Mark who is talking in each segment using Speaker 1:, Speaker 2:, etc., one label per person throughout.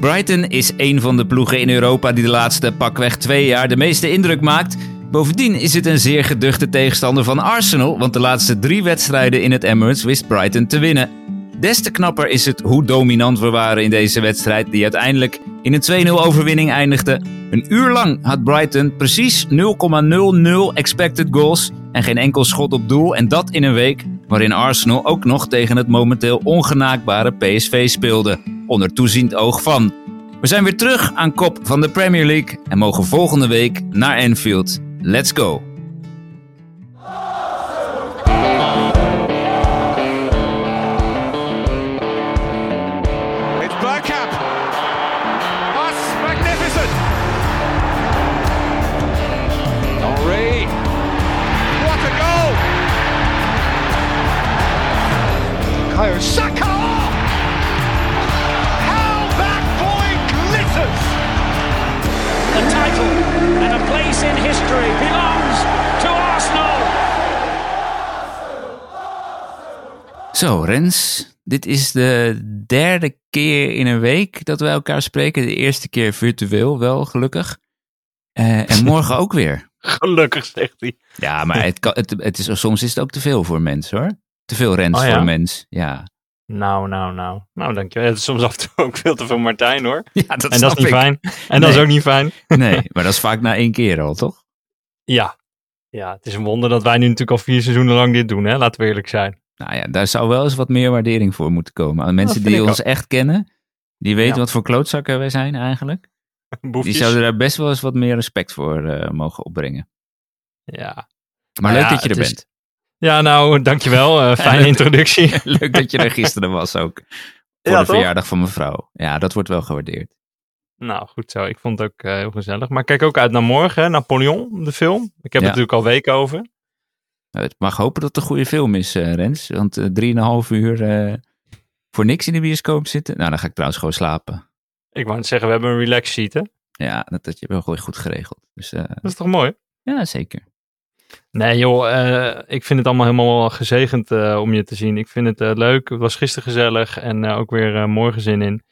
Speaker 1: Brighton is een van de ploegen in Europa die de laatste pakweg twee jaar de meeste indruk maakt. Bovendien is het een zeer geduchte tegenstander van Arsenal, want de laatste drie wedstrijden in het Emirates wist Brighton te winnen. Des te knapper is het hoe dominant we waren in deze wedstrijd, die uiteindelijk in een 2-0 overwinning eindigde. Een uur lang had Brighton precies 0,00 expected goals en geen enkel schot op doel. En dat in een week waarin Arsenal ook nog tegen het momenteel ongenaakbare PSV speelde. Onder toeziend oog van. We zijn weer terug aan kop van de Premier League en mogen volgende week naar Anfield. Let's go!
Speaker 2: It's Bergkamp. That's magnificent. Henri. What a goal. Kayo Saka. How that boy glitters.
Speaker 3: The title and a place in history belongs to Arsenal.
Speaker 1: Zo, Rens. Dit is de derde keer in een week dat wij elkaar spreken. De eerste keer virtueel, wel gelukkig. Eh, en morgen ook weer.
Speaker 4: Gelukkig, zegt hij.
Speaker 1: Ja, maar het kan, het, het is, soms is het ook te veel voor mensen hoor. Te veel Rens
Speaker 4: Oh, ja?
Speaker 1: voor een mens. Ja,
Speaker 4: Nou, nou, nou. Nou, dankjewel. Het is soms af en toe ook veel te veel Martijn, hoor.
Speaker 1: ja dat,
Speaker 4: en dat is niet fijn. En dat is
Speaker 1: Nee.
Speaker 4: ook niet fijn.
Speaker 1: Nee, maar dat is vaak na één keer al, toch?
Speaker 4: Ja. Ja, het is een wonder dat wij nu natuurlijk al vier seizoenen lang dit doen, hè. Laten we eerlijk zijn.
Speaker 1: Nou ja, daar zou wel eens wat meer waardering voor moeten komen. Aan mensen
Speaker 4: vind
Speaker 1: die
Speaker 4: ik
Speaker 1: ons echt kennen, die weten
Speaker 4: Ja.
Speaker 1: wat voor klootzakken wij zijn eigenlijk. Die
Speaker 4: Boefjes.
Speaker 1: zouden daar best wel eens wat meer respect voor eh, mogen opbrengen.
Speaker 4: Ja.
Speaker 1: Maar
Speaker 4: Nou
Speaker 1: leuk
Speaker 4: ja,
Speaker 1: dat je er
Speaker 4: het is-
Speaker 1: bent.
Speaker 4: ja, nou, dankjewel. Eh, fijne
Speaker 1: dat-
Speaker 4: introductie.
Speaker 1: Leuk dat je er gisteren was ook. Voor
Speaker 4: Ja,
Speaker 1: de
Speaker 4: toch?
Speaker 1: verjaardag van mijn vrouw. Ja, dat wordt wel gewaardeerd.
Speaker 4: Nou, goed zo. Ik vond het ook eh, heel gezellig. Maar ik kijk ook uit naar morgen, hè. Napoleon, de film. Ik heb
Speaker 1: Ja.
Speaker 4: het natuurlijk al weken over.
Speaker 1: Nou, Het mag hopen dat het een goede film is, eh, Rens. Want eh, drieënhalf uur eh, voor niks in de bioscoop zitten. Nou, dan ga ik trouwens gewoon slapen.
Speaker 4: Ik wou net zeggen, we hebben een relax sheet, hè.
Speaker 1: Ja, dat, dat je wel gewoon goed geregeld. Dus eh,
Speaker 4: Dat is toch mooi?
Speaker 1: ja, zeker.
Speaker 4: Nee joh, eh, ik vind het allemaal helemaal gezegend eh, om je te zien. Ik vind het eh, leuk. Het was gisteren gezellig en eh, ook weer eh, morgen zin in.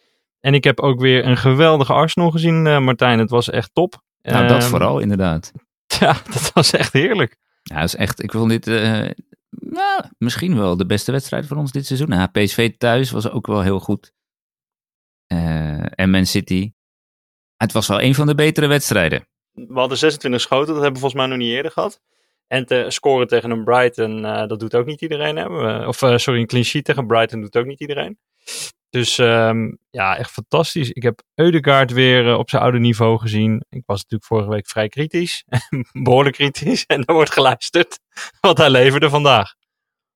Speaker 4: En ik heb ook weer een geweldige Arsenal gezien, eh, Martijn. Het was echt top.
Speaker 1: Nou, dat
Speaker 4: Ehm,
Speaker 1: vooral inderdaad.
Speaker 4: Ja, dat was echt heerlijk.
Speaker 1: Ja, dat is echt, ik vond dit eh, nou, misschien wel de beste wedstrijd voor ons dit seizoen. Nou, PSV thuis was ook wel heel goed. Eh, en Man City. Ah, Het was wel een van de betere wedstrijden.
Speaker 4: We hadden 26 schoten, dat hebben we volgens mij nog niet eerder gehad. En te scoren tegen een Brighton, eh, dat doet ook niet iedereen. Hè? We- Of eh, sorry, een clean sheet tegen Brighton doet ook niet iedereen. Dus ehm, ja, echt fantastisch. Ik heb Eudegaard weer eh, op zijn oude niveau gezien. Ik was natuurlijk vorige week vrij kritisch. Behoorlijk kritisch. En daar wordt geluisterd. Want hij leverde vandaag.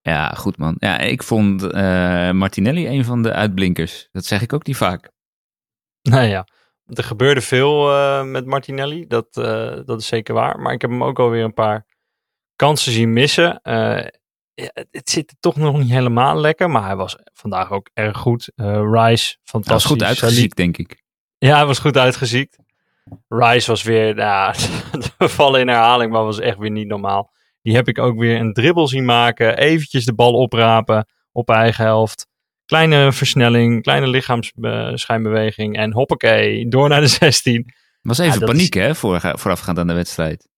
Speaker 1: Ja, goed man. Ja, ik vond eh, Martinelli een van de uitblinkers. Dat zeg ik ook niet vaak.
Speaker 4: Nou ja, er gebeurde veel eh, met Martinelli. Dat, eh, dat is zeker waar. Maar ik heb hem ook alweer een paar kansen zien missen. Eh, ja, het, het zit toch nog niet helemaal lekker. Maar hij was vandaag ook erg goed. Eh, Rice, fantastisch.
Speaker 1: Dat was goed
Speaker 4: Salih-
Speaker 1: uitgeziekt, denk ik.
Speaker 4: ja, hij was goed uitgeziekt. Rice was weer, nou, we vallen in herhaling, maar was echt weer niet normaal. Die heb ik ook weer een dribbel zien maken. Eventjes de bal oprapen op eigen helft. Kleine versnelling, kleine lichaamsschijnbeweging. En hoppakee, door naar de 16.
Speaker 1: Was even
Speaker 4: Ja, dat
Speaker 1: paniek, hè, voor, voorafgaand aan de wedstrijd.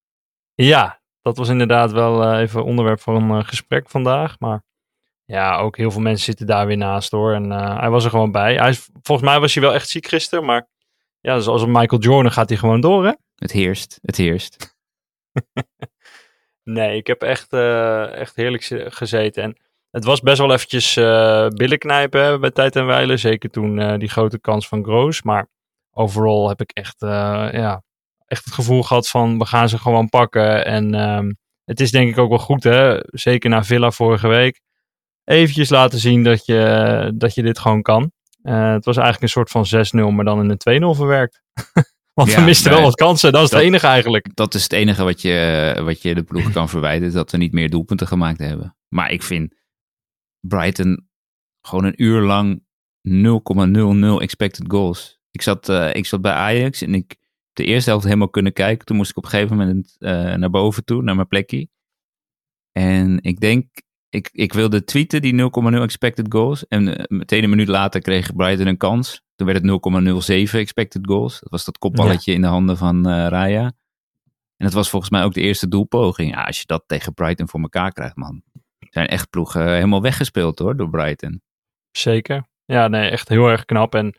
Speaker 4: Ja, dat was inderdaad wel eh, even onderwerp van een eh, gesprek vandaag. Maar ja, ook heel veel mensen zitten daar weer naast hoor. En eh, hij was er gewoon bij. Hij is, volgens mij was hij wel echt ziek gisteren. Maar ja, zoals een Michael Jordan gaat hij gewoon door hè.
Speaker 1: Het heerst, het heerst.
Speaker 4: Nee, ik heb echt, eh, echt heerlijk ze- gezeten. En het was best wel eventjes eh billen knijpen hè, bij Tijd en Weilen. Zeker toen eh, die grote kans van Groos. Maar overal heb ik echt, eh, ja, echt het gevoel gehad van we gaan ze gewoon pakken. En ehm, het is denk ik ook wel goed, hè? zeker na Villa vorige week. Eventjes laten zien dat je, dat je dit gewoon kan. Eh, het was eigenlijk een soort van 6-0, maar dan in een 2-0 verwerkt. Want
Speaker 1: Ja,
Speaker 4: we misten
Speaker 1: nee.
Speaker 4: wel wat kansen. Dat is
Speaker 1: Dat-
Speaker 4: het enige eigenlijk.
Speaker 1: Dat is het enige wat je, wat je de ploeg kan verwijten, dat we niet meer doelpunten gemaakt hebben. Maar ik vind Brighton gewoon een uur lang 0,00 expected goals. Ik zat, eh, ik zat bij Ajax en ik heb de eerste helft helemaal kunnen kijken. Toen moest ik op een gegeven moment eh, naar boven toe, naar mijn plekje. En ik denk, ik, ik wilde tweeten die 0,0 expected goals. En eh, meteen een minuut later kreeg Brighton een kans. Toen werd het 0,07 expected goals. Dat was dat kopballetje in de handen van eh Raya. En dat was volgens mij ook de eerste doelpoging. Ja, als je dat tegen Brighton voor elkaar krijgt, man. Er Zijn echt ploegen eh, helemaal weggespeeld hoor, door Brighton.
Speaker 4: Zeker. Ja, nee, echt heel erg knap. En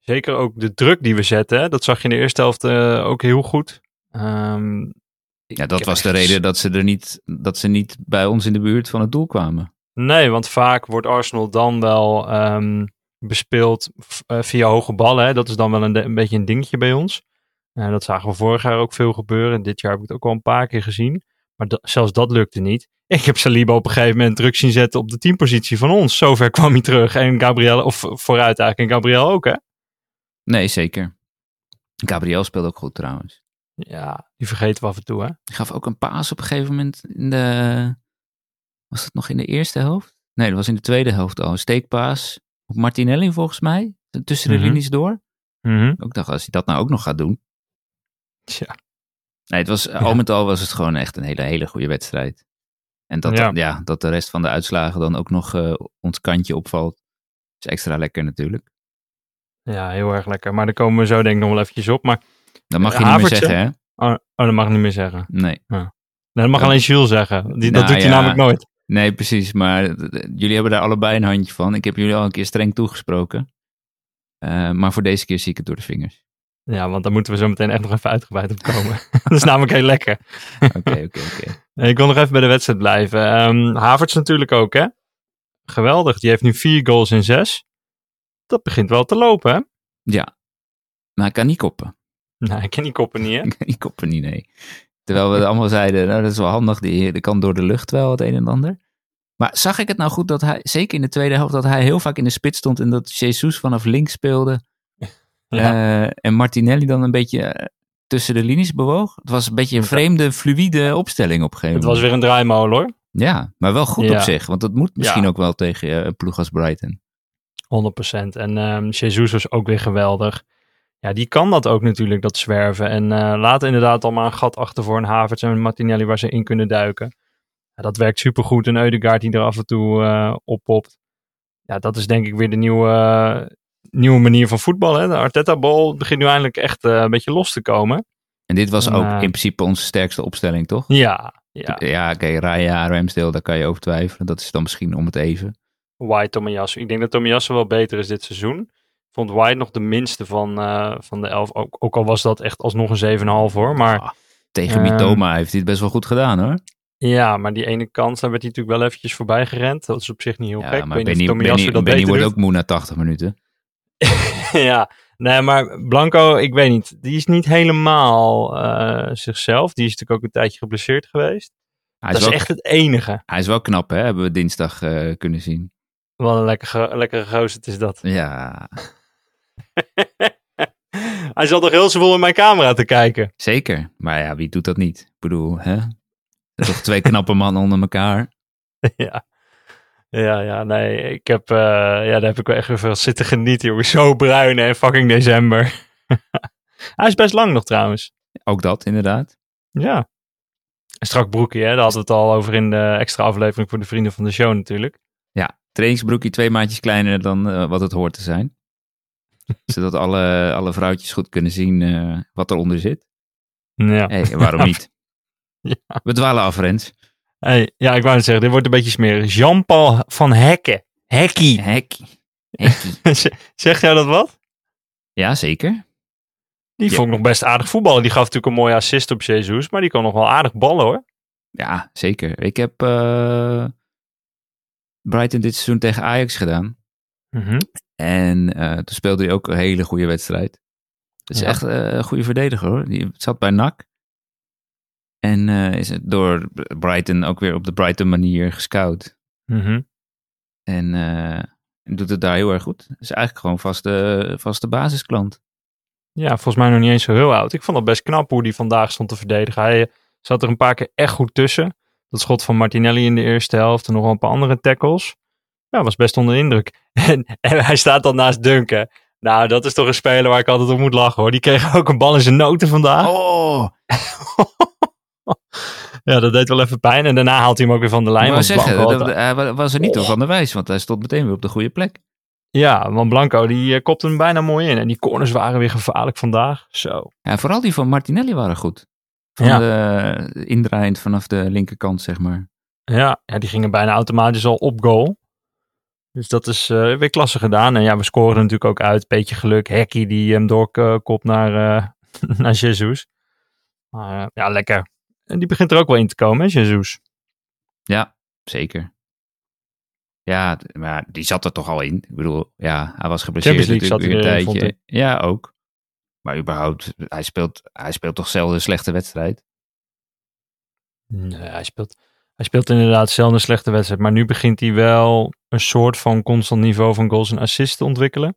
Speaker 4: zeker ook de druk die we zetten. hè, Dat zag je in de eerste helft eh, ook heel goed. Ehm,
Speaker 1: Ja,
Speaker 4: ik
Speaker 1: dat
Speaker 4: heb
Speaker 1: was de
Speaker 4: echt-
Speaker 1: reden dat ze, er niet, dat ze niet bij ons in de buurt van het doel kwamen.
Speaker 4: Nee, want vaak wordt Arsenal dan wel ehm, bespeeld f- eh, via hoge ballen. Hè? Dat is dan wel een, de- een beetje een dingetje bij ons. Eh, dat zagen we vorig jaar ook veel gebeuren. Dit jaar heb ik het ook al een paar keer gezien. Maar da- zelfs dat lukte niet. Ik heb Saliba op een gegeven moment druk zien zetten op de teampositie van ons. Zover kwam hij terug. En Gabriel, of vooruit eigenlijk. En Gabriel ook, hè?
Speaker 1: Nee, zeker. Gabriel speelde ook goed trouwens.
Speaker 4: Ja, die vergeten we af en toe, hè?
Speaker 1: Die gaf ook een paas op een gegeven moment in de... Was dat nog in de eerste helft? Nee, dat was in de tweede helft al. Een steekpaas op Martinelli volgens mij. Tussen de
Speaker 4: Mhm.
Speaker 1: linies door. Ook dacht, als hij dat nou ook nog gaat doen.
Speaker 4: Tja.
Speaker 1: Nee, het was, al met al was het gewoon echt een hele, hele goede wedstrijd. En dat,
Speaker 4: Ja.
Speaker 1: ja. dat de rest van de uitslagen dan ook nog eh, ons kantje opvalt. Is extra lekker natuurlijk.
Speaker 4: Ja, heel erg lekker. Maar daar komen we zo denk ik nog wel eventjes op. Maar,
Speaker 1: Dat mag
Speaker 4: Eh,
Speaker 1: je niet meer
Speaker 4: Havertz,
Speaker 1: zeggen, hè?
Speaker 4: oh, oh, dat mag ik niet meer zeggen.
Speaker 1: Nee.
Speaker 4: Nee, dat mag
Speaker 1: Oh.
Speaker 4: alleen Jules zeggen. Die,
Speaker 1: Nou,
Speaker 4: dat doet hij
Speaker 1: ja.
Speaker 4: namelijk nooit.
Speaker 1: Nee, precies. Maar d- d- jullie hebben daar allebei een handje van. Ik heb jullie al een keer streng toegesproken. Eh, maar voor deze keer zie ik het door de vingers.
Speaker 4: Ja, want daar moeten we zo meteen echt nog even uitgebreid op komen. dat is namelijk heel lekker.
Speaker 1: Oké, oké, oké.
Speaker 4: Eh, Ik wil nog even bij de wedstrijd blijven. Ehm Havertz natuurlijk ook, hè? Geweldig. Die heeft nu vier goals in zes. Dat begint wel te lopen, hè?
Speaker 1: Maar ik kan niet koppen.
Speaker 4: Nou, ik ken die koppen niet, hè?
Speaker 1: Ik kan niet koppen, niet, nee. Terwijl we allemaal zeiden, nou dat is wel handig. Die, die kan door de lucht wel het een en ander. Maar zag ik het nou goed dat hij, zeker in de tweede helft, dat hij heel vaak in de spits stond en dat Jesus vanaf links speelde.
Speaker 4: Ja.
Speaker 1: eh, en Martinelli dan een beetje eh, tussen de linies bewoog. Het was een beetje een vreemde, fluïde opstelling op een gegeven
Speaker 4: het
Speaker 1: moment.
Speaker 4: was weer een draaimolen, hoor.
Speaker 1: Ja, maar wel goed op
Speaker 4: Ja.
Speaker 1: zich. Want dat moet misschien
Speaker 4: Ja.
Speaker 1: ook wel tegen eh, een ploeg als Brighton.
Speaker 4: 100%. En ehm Jesus was ook weer geweldig. Ja, die kan dat ook natuurlijk, dat zwerven. En eh laat inderdaad allemaal een gat achter voor een Havertz en een Martinelli waar ze in kunnen duiken. Ja, dat werkt supergoed. En Eudegaard die er af en toe eh oppopt. Ja, dat is denk ik weer de nieuwe, eh, nieuwe manier van voetballen. De Arteta-bal begint nu eindelijk echt eh, een beetje los te komen.
Speaker 1: En dit was
Speaker 4: En,
Speaker 1: ook
Speaker 4: eh,
Speaker 1: in principe onze sterkste opstelling, toch?
Speaker 4: Ja, ja.
Speaker 1: Ja, oké, Raya, Ramsdale, daar kan je over twijfelen. Dat is dan misschien om het even.
Speaker 4: White, Tomiyasu. Ik denk dat Tomiyasu wel beter is dit seizoen. Ik vond White nog de minste van, eh, van de elf. Ook, ook al was dat echt alsnog een 7,5 hoor. Maar
Speaker 1: Ah, tegen
Speaker 4: Ehm,
Speaker 1: Mitoma heeft hij het best wel goed gedaan, hoor.
Speaker 4: Ja, maar die ene kans, daar werd hij natuurlijk wel eventjes voorbij gerend. Dat is op zich niet heel gek.
Speaker 1: Ja,
Speaker 4: Ik
Speaker 1: maar
Speaker 4: weet niet of
Speaker 1: Benny,
Speaker 4: Tomiyasu
Speaker 1: Benny,
Speaker 4: dat
Speaker 1: Benny
Speaker 4: beter
Speaker 1: wordt
Speaker 4: doet.
Speaker 1: ook moe na 80 minuten.
Speaker 4: ja, nee, maar Blanco, ik weet niet. Die is niet helemaal eh, zichzelf. Die is natuurlijk ook een tijdje geblesseerd geweest.
Speaker 1: Hij
Speaker 4: dat
Speaker 1: is,
Speaker 4: is
Speaker 1: wel,
Speaker 4: echt het enige.
Speaker 1: hij is wel knap, hè? Hebben we dinsdag eh, kunnen zien.
Speaker 4: Wat een lekkere, lekkere gozer het is dat.
Speaker 1: Ja,
Speaker 4: Hij zat nog heel zwoel in mijn camera te kijken.
Speaker 1: zeker. Maar ja, wie doet dat niet? Ik bedoel, hè? Toch twee knappe mannen onder elkaar.
Speaker 4: ja. Ja, ja, nee, ik heb, eh, ja, daar heb ik wel echt weer veel zitten genieten, jongen. Zo bruin en fucking december. Hij is best lang nog trouwens.
Speaker 1: Ook dat, inderdaad.
Speaker 4: Ja. Een strak broekje, hè? Daar hadden we het al over in de extra aflevering voor de vrienden van de show natuurlijk.
Speaker 1: trainingsbroekje twee maatjes kleiner dan eh, wat het hoort te zijn. Zodat alle, alle vrouwtjes goed kunnen zien eh, wat eronder zit.
Speaker 4: Ja.
Speaker 1: hey, waarom niet?
Speaker 4: Ja.
Speaker 1: We dwalen af, Rens.
Speaker 4: Hey, ja, ik wou net zeggen, dit wordt een beetje smerig. Jean-Paul van Hekken. Hekkie.
Speaker 1: Hekkie. Hekkie.
Speaker 4: Zegt jou dat wat?
Speaker 1: Ja, zeker.
Speaker 4: Die
Speaker 1: Ja.
Speaker 4: vond ik nog best aardig voetballen. Die gaf natuurlijk een mooie assist op Jesus, maar die kon nog wel aardig ballen hoor.
Speaker 1: Ja, zeker. Ik heb eh, Brighton dit seizoen tegen Ajax gedaan.
Speaker 4: Mhm.
Speaker 1: En eh, toen speelde hij ook een hele goede wedstrijd. Dat is
Speaker 4: Ja.
Speaker 1: echt eh, een goede verdediger hoor. Die zat bij NAC. En eh, is door Brighton ook weer op de Brighton manier gescout.
Speaker 4: Mhm.
Speaker 1: En eh, en doet het daar heel erg goed. Is eigenlijk gewoon vaste, vaste basisklant.
Speaker 4: Ja, volgens mij nog niet eens zo heel oud. Ik vond het best knap hoe die vandaag stond te verdedigen. Hij eh, zat er een paar keer echt goed tussen. Dat schot van Martinelli in de eerste helft en nog wel een paar andere tackles. Ja, was best onder de indruk. En, en hij staat dan naast Duncan. Nou, dat is toch een speler waar ik altijd op moet lachen hoor. Die kreeg ook een bal in zijn noten vandaag.
Speaker 1: Oh,
Speaker 4: Ja, dat deed wel even pijn. En daarna haalt hij hem ook weer van de lijn.
Speaker 1: ik wou
Speaker 4: want
Speaker 1: zeggen,
Speaker 4: Blanco had-
Speaker 1: dat- hij wa- was er niet door van de wijs, want hij stond meteen weer op de goede plek.
Speaker 4: Ja, want Blanco die eh, kopte hem bijna mooi in. En die corners waren weer gevaarlijk vandaag. Zo.
Speaker 1: Ja, vooral die van Martinelli waren goed. Van
Speaker 4: Ja.
Speaker 1: de eh, indraaiend vanaf de linkerkant, zeg maar.
Speaker 4: Ja, ja, die gingen bijna automatisch al op goal. Dus dat is eh, weer klasse gedaan. En ja, we scoren er natuurlijk ook uit. Beetje geluk. Hekkie die hem doorkopt naar, eh naar Jesus. Maar eh, ja, lekker. En die begint er ook wel in te komen, hè, Jesus.
Speaker 1: Ja, zeker. Ja, d- maar die zat er toch al in. Ik bedoel, ja, hij was geblesseerd
Speaker 4: Champions League
Speaker 1: natuurlijk weer
Speaker 4: zat
Speaker 1: een
Speaker 4: hij eh, erin,
Speaker 1: tijdje. Ja, ook. Maar überhaupt, hij speelt, hij speelt toch zelden een slechte wedstrijd.
Speaker 4: Nee, Mm, hij speelt, hij speelt inderdaad zelden een slechte wedstrijd. Maar nu begint hij wel een soort van constant niveau van goals en assists te ontwikkelen.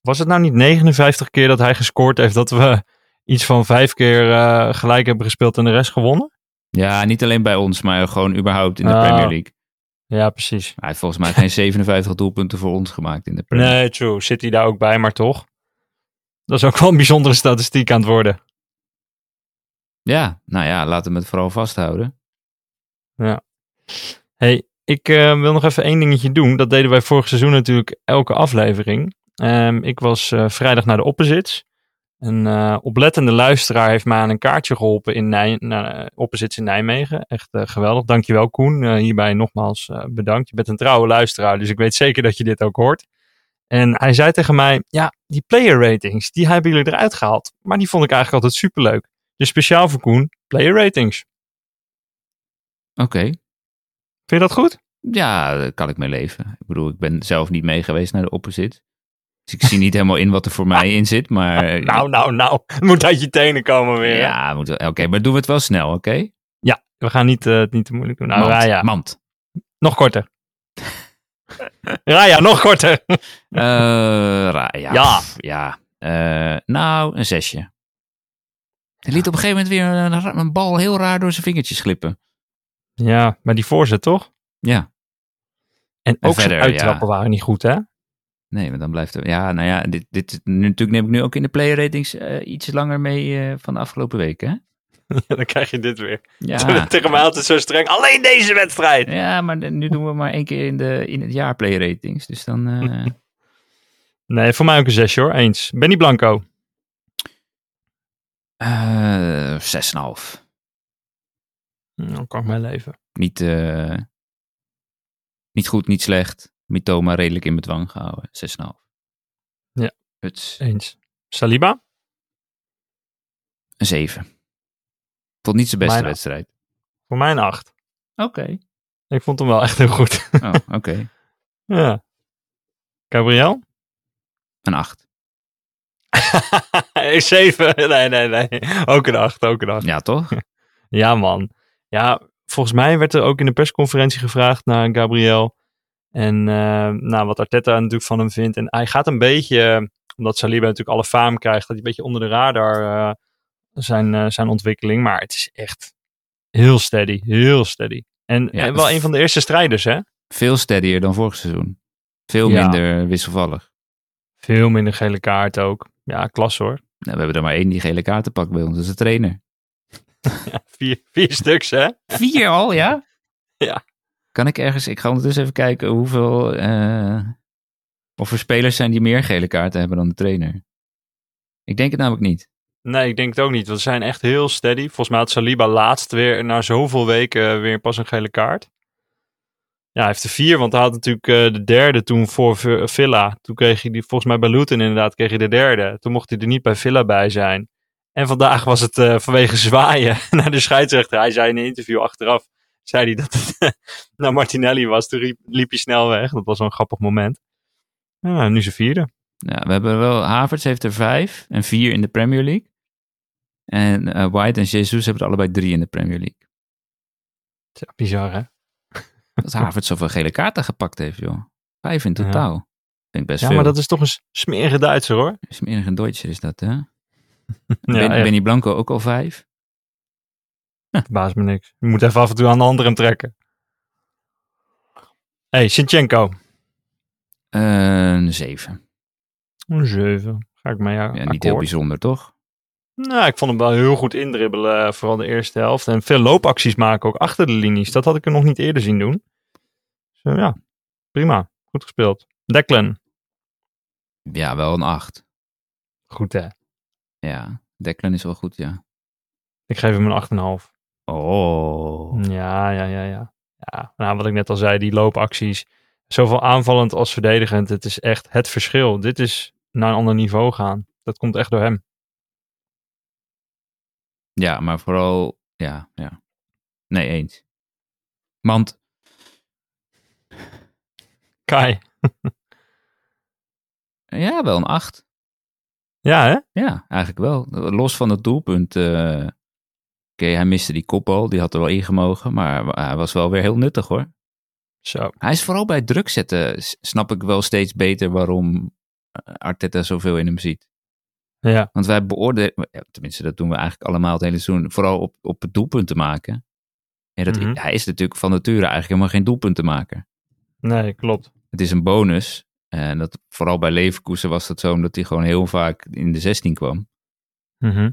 Speaker 4: Was het nou niet 59 keer dat hij gescoord heeft dat we iets van vijf keer eh, gelijk hebben gespeeld en de rest gewonnen?
Speaker 1: Ja, niet alleen bij ons, maar gewoon überhaupt in de
Speaker 4: Ah.
Speaker 1: Premier League.
Speaker 4: Ja, precies.
Speaker 1: Hij heeft volgens mij geen 57 doelpunten voor ons gemaakt in de Premier League.
Speaker 4: Nee, true. Zit hij daar ook bij, maar toch. Dat is ook wel een bijzondere statistiek aan het worden.
Speaker 1: Ja, nou ja, laten we het vooral vasthouden.
Speaker 4: hey, ik eh, wil nog even één dingetje doen. Dat deden wij vorig seizoen natuurlijk elke aflevering. Ehm, ik was eh, vrijdag naar de opposits. Een eh, oplettende luisteraar heeft mij aan een kaartje geholpen in Nij naar, opposits in Nijmegen. Echt eh, geweldig. Dankjewel Koen. Eh, hierbij nogmaals eh, bedankt. Je bent een trouwe luisteraar, dus ik weet zeker dat je dit ook hoort. En hij zei tegen mij, ja, die player ratings, die hebben jullie eruit gehaald. Maar die vond ik eigenlijk altijd superleuk. Dus speciaal voor Koen, player ratings.
Speaker 1: Oké,
Speaker 4: Vind je dat goed?
Speaker 1: ja, daar kan ik mee leven. Ik bedoel, ik ben zelf niet mee geweest naar de opposit. Dus ik zie niet helemaal in wat er voor mij in zit, maar...
Speaker 4: Nou, nou, nou. Het moet uit je tenen komen weer. Ja.
Speaker 1: Ja, moet wel- oké, maar doen we het wel snel, oké?
Speaker 4: We gaan niet, eh, het niet te moeilijk doen. Nou,
Speaker 1: mand,
Speaker 4: Raya,
Speaker 1: mand.
Speaker 4: nog korter. Raya, nog korter.
Speaker 1: Eh, Raya.
Speaker 4: Ja.
Speaker 1: pff, ja. Eh, nou, een zesje. Hij liet op een gegeven moment weer een, ra- een bal heel raar door zijn vingertjes glippen.
Speaker 4: Ja, maar die voorzet toch?
Speaker 1: Ja.
Speaker 4: En
Speaker 1: En
Speaker 4: ook zijn
Speaker 1: verder,
Speaker 4: uittrappen waren niet goed, hè?
Speaker 1: Nee, maar dan blijft er... Ja, nou ja, dit, dit is nu, natuurlijk neem ik nu ook in de player ratings eh, iets langer mee eh, van de afgelopen week, hè?
Speaker 4: dan krijg je dit weer.
Speaker 1: Ja.
Speaker 4: Tegen mij altijd zo streng. Alleen deze wedstrijd.
Speaker 1: ja, maar de- nu doen we maar één keer in, de, in het jaar player ratings. Dus dan... eh,
Speaker 4: Nee, voor mij ook een zesje hoor. Eens. Benny Blanco.
Speaker 1: eh, 6,5.
Speaker 4: Nou, Dan kan ik mijn leven.
Speaker 1: Niet, eh, niet goed, niet slecht. Mythoma redelijk in bedwang gehouden. 6,5.
Speaker 4: Ja.
Speaker 1: Huts.
Speaker 4: Eens. Saliba?
Speaker 1: Een 7. Tot niet zijn beste
Speaker 4: Bijna.
Speaker 1: wedstrijd.
Speaker 4: Voor mij een acht.
Speaker 1: Oké.
Speaker 4: Ik vond hem wel echt heel goed.
Speaker 1: Oh, oké.
Speaker 4: ja. Gabriel?
Speaker 1: Een 8.
Speaker 4: Een zeven. Nee, nee, nee. Ook een acht. Ook een acht.
Speaker 1: Ja, toch?
Speaker 4: Ja, man. Ja, volgens mij werd er ook in de persconferentie gevraagd naar Gabriel. En eh nou, wat Arteta natuurlijk van hem vindt. En hij gaat een beetje, eh, omdat Saliba natuurlijk alle faam krijgt, dat hij een beetje onder de radar eh, zijn, eh, zijn ontwikkeling. Maar het is echt heel steady. Heel steady. En,
Speaker 1: Ja,
Speaker 4: en wel
Speaker 1: dat-
Speaker 4: een van de eerste strijders, hè?
Speaker 1: Veel steadier dan vorig seizoen. Veel
Speaker 4: Ja.
Speaker 1: minder wisselvallig.
Speaker 4: Veel minder gele kaart ook. Ja, klas hoor.
Speaker 1: Nou, we hebben er maar één die gele kaarten pakt bij ons. Dat is de trainer.
Speaker 4: Vier, vier stuks, hè?
Speaker 1: Vier al, ja?
Speaker 4: Ja.
Speaker 1: Kan ik ergens... Ik ga ondertussen even kijken hoeveel... eh, of er spelers zijn die meer gele kaarten hebben dan de trainer. Ik denk het namelijk niet.
Speaker 4: Nee, ik denk het ook niet. Want ze zijn echt heel steady. Volgens mij had Saliba laatst weer na zoveel weken eh, weer pas een gele kaart. Ja, hij heeft er vier, want hij had natuurlijk eh, de derde toen voor V- Villa. Toen kreeg hij die, volgens mij bij Luton inderdaad, kreeg hij de derde. Toen mocht hij er niet bij Villa bij zijn. En vandaag was het eh, vanwege zwaaien naar de scheidsrechter. Hij zei in een interview achteraf, zei hij dat het naar Martinelli was. Toen riep- liep hij snel weg. Dat was wel een grappig moment. Ja, nu zijn vierde.
Speaker 1: Ja, we hebben wel... Havertz heeft er vijf en vier in de Premier League. En eh, White en Jesus hebben er allebei drie in de Premier League.
Speaker 4: Ja, Bizar, hè?
Speaker 1: Dat Havertz zoveel gele kaarten gepakt heeft, joh. Vijf in
Speaker 4: Ja.
Speaker 1: totaal. Vind ik best
Speaker 4: Ja,
Speaker 1: veel.
Speaker 4: maar dat is toch een s- smerige Duitser, hoor.
Speaker 1: Is meer een Duitser is dat, hè?
Speaker 4: Ja,
Speaker 1: ben,
Speaker 4: echt.
Speaker 1: Benny Blanco ook al vijf?
Speaker 4: Baas me niks. Je moet even af en toe aan de andere hem trekken. hey, Sinchenko.
Speaker 1: Eh, Een zeven.
Speaker 4: Een 7. Ga ik mee. Ja,
Speaker 1: Ja, niet
Speaker 4: akkoord.
Speaker 1: heel bijzonder, toch?
Speaker 4: Nou, ik vond hem wel heel goed indribbelen. eh, Vooral de eerste helft. En veel loopacties maken ook achter de linies. Dat had ik hem nog Dus, eh, niet eerder zien doen. Zo ja, prima. Goed gespeeld. Declan.
Speaker 1: Ja, wel een 8.
Speaker 4: Goed hè.
Speaker 1: Ja, Declan is wel goed, ja.
Speaker 4: Ik geef hem een 8,5.
Speaker 1: Oh.
Speaker 4: Ja, ja, ja, ja. ja nou, wat ik net al zei, die loopacties. Zowel aanvallend als verdedigend. Het is echt het verschil. Dit is naar een ander niveau gaan. Dat komt echt door hem.
Speaker 1: Ja, maar vooral, ja, ja. Nee, eens. Want,
Speaker 4: Kai.
Speaker 1: ja, wel een 8.
Speaker 4: Ja, hè?
Speaker 1: Ja, eigenlijk wel. Los van het doelpunt. eh, Oké, hij miste die kopbal. Die had er wel ingemogen. Maar hij was wel weer heel nuttig, hoor.
Speaker 4: Zo.
Speaker 1: Hij is vooral bij druk zetten. s- Snap ik wel steeds beter waarom eh, Arteta zoveel in hem ziet.
Speaker 4: Ja,
Speaker 1: Want wij beoordelen, ja, tenminste dat doen we eigenlijk allemaal het hele seizoen, vooral op, op het doelpunt te maken. En dat,
Speaker 4: Mhm.
Speaker 1: Hij is natuurlijk van nature eigenlijk helemaal geen doelpuntenmaker.
Speaker 4: nee, klopt.
Speaker 1: Het is een bonus. En dat, vooral bij Leverkusen was dat zo omdat hij gewoon heel vaak in de 16 kwam.
Speaker 4: Mhm.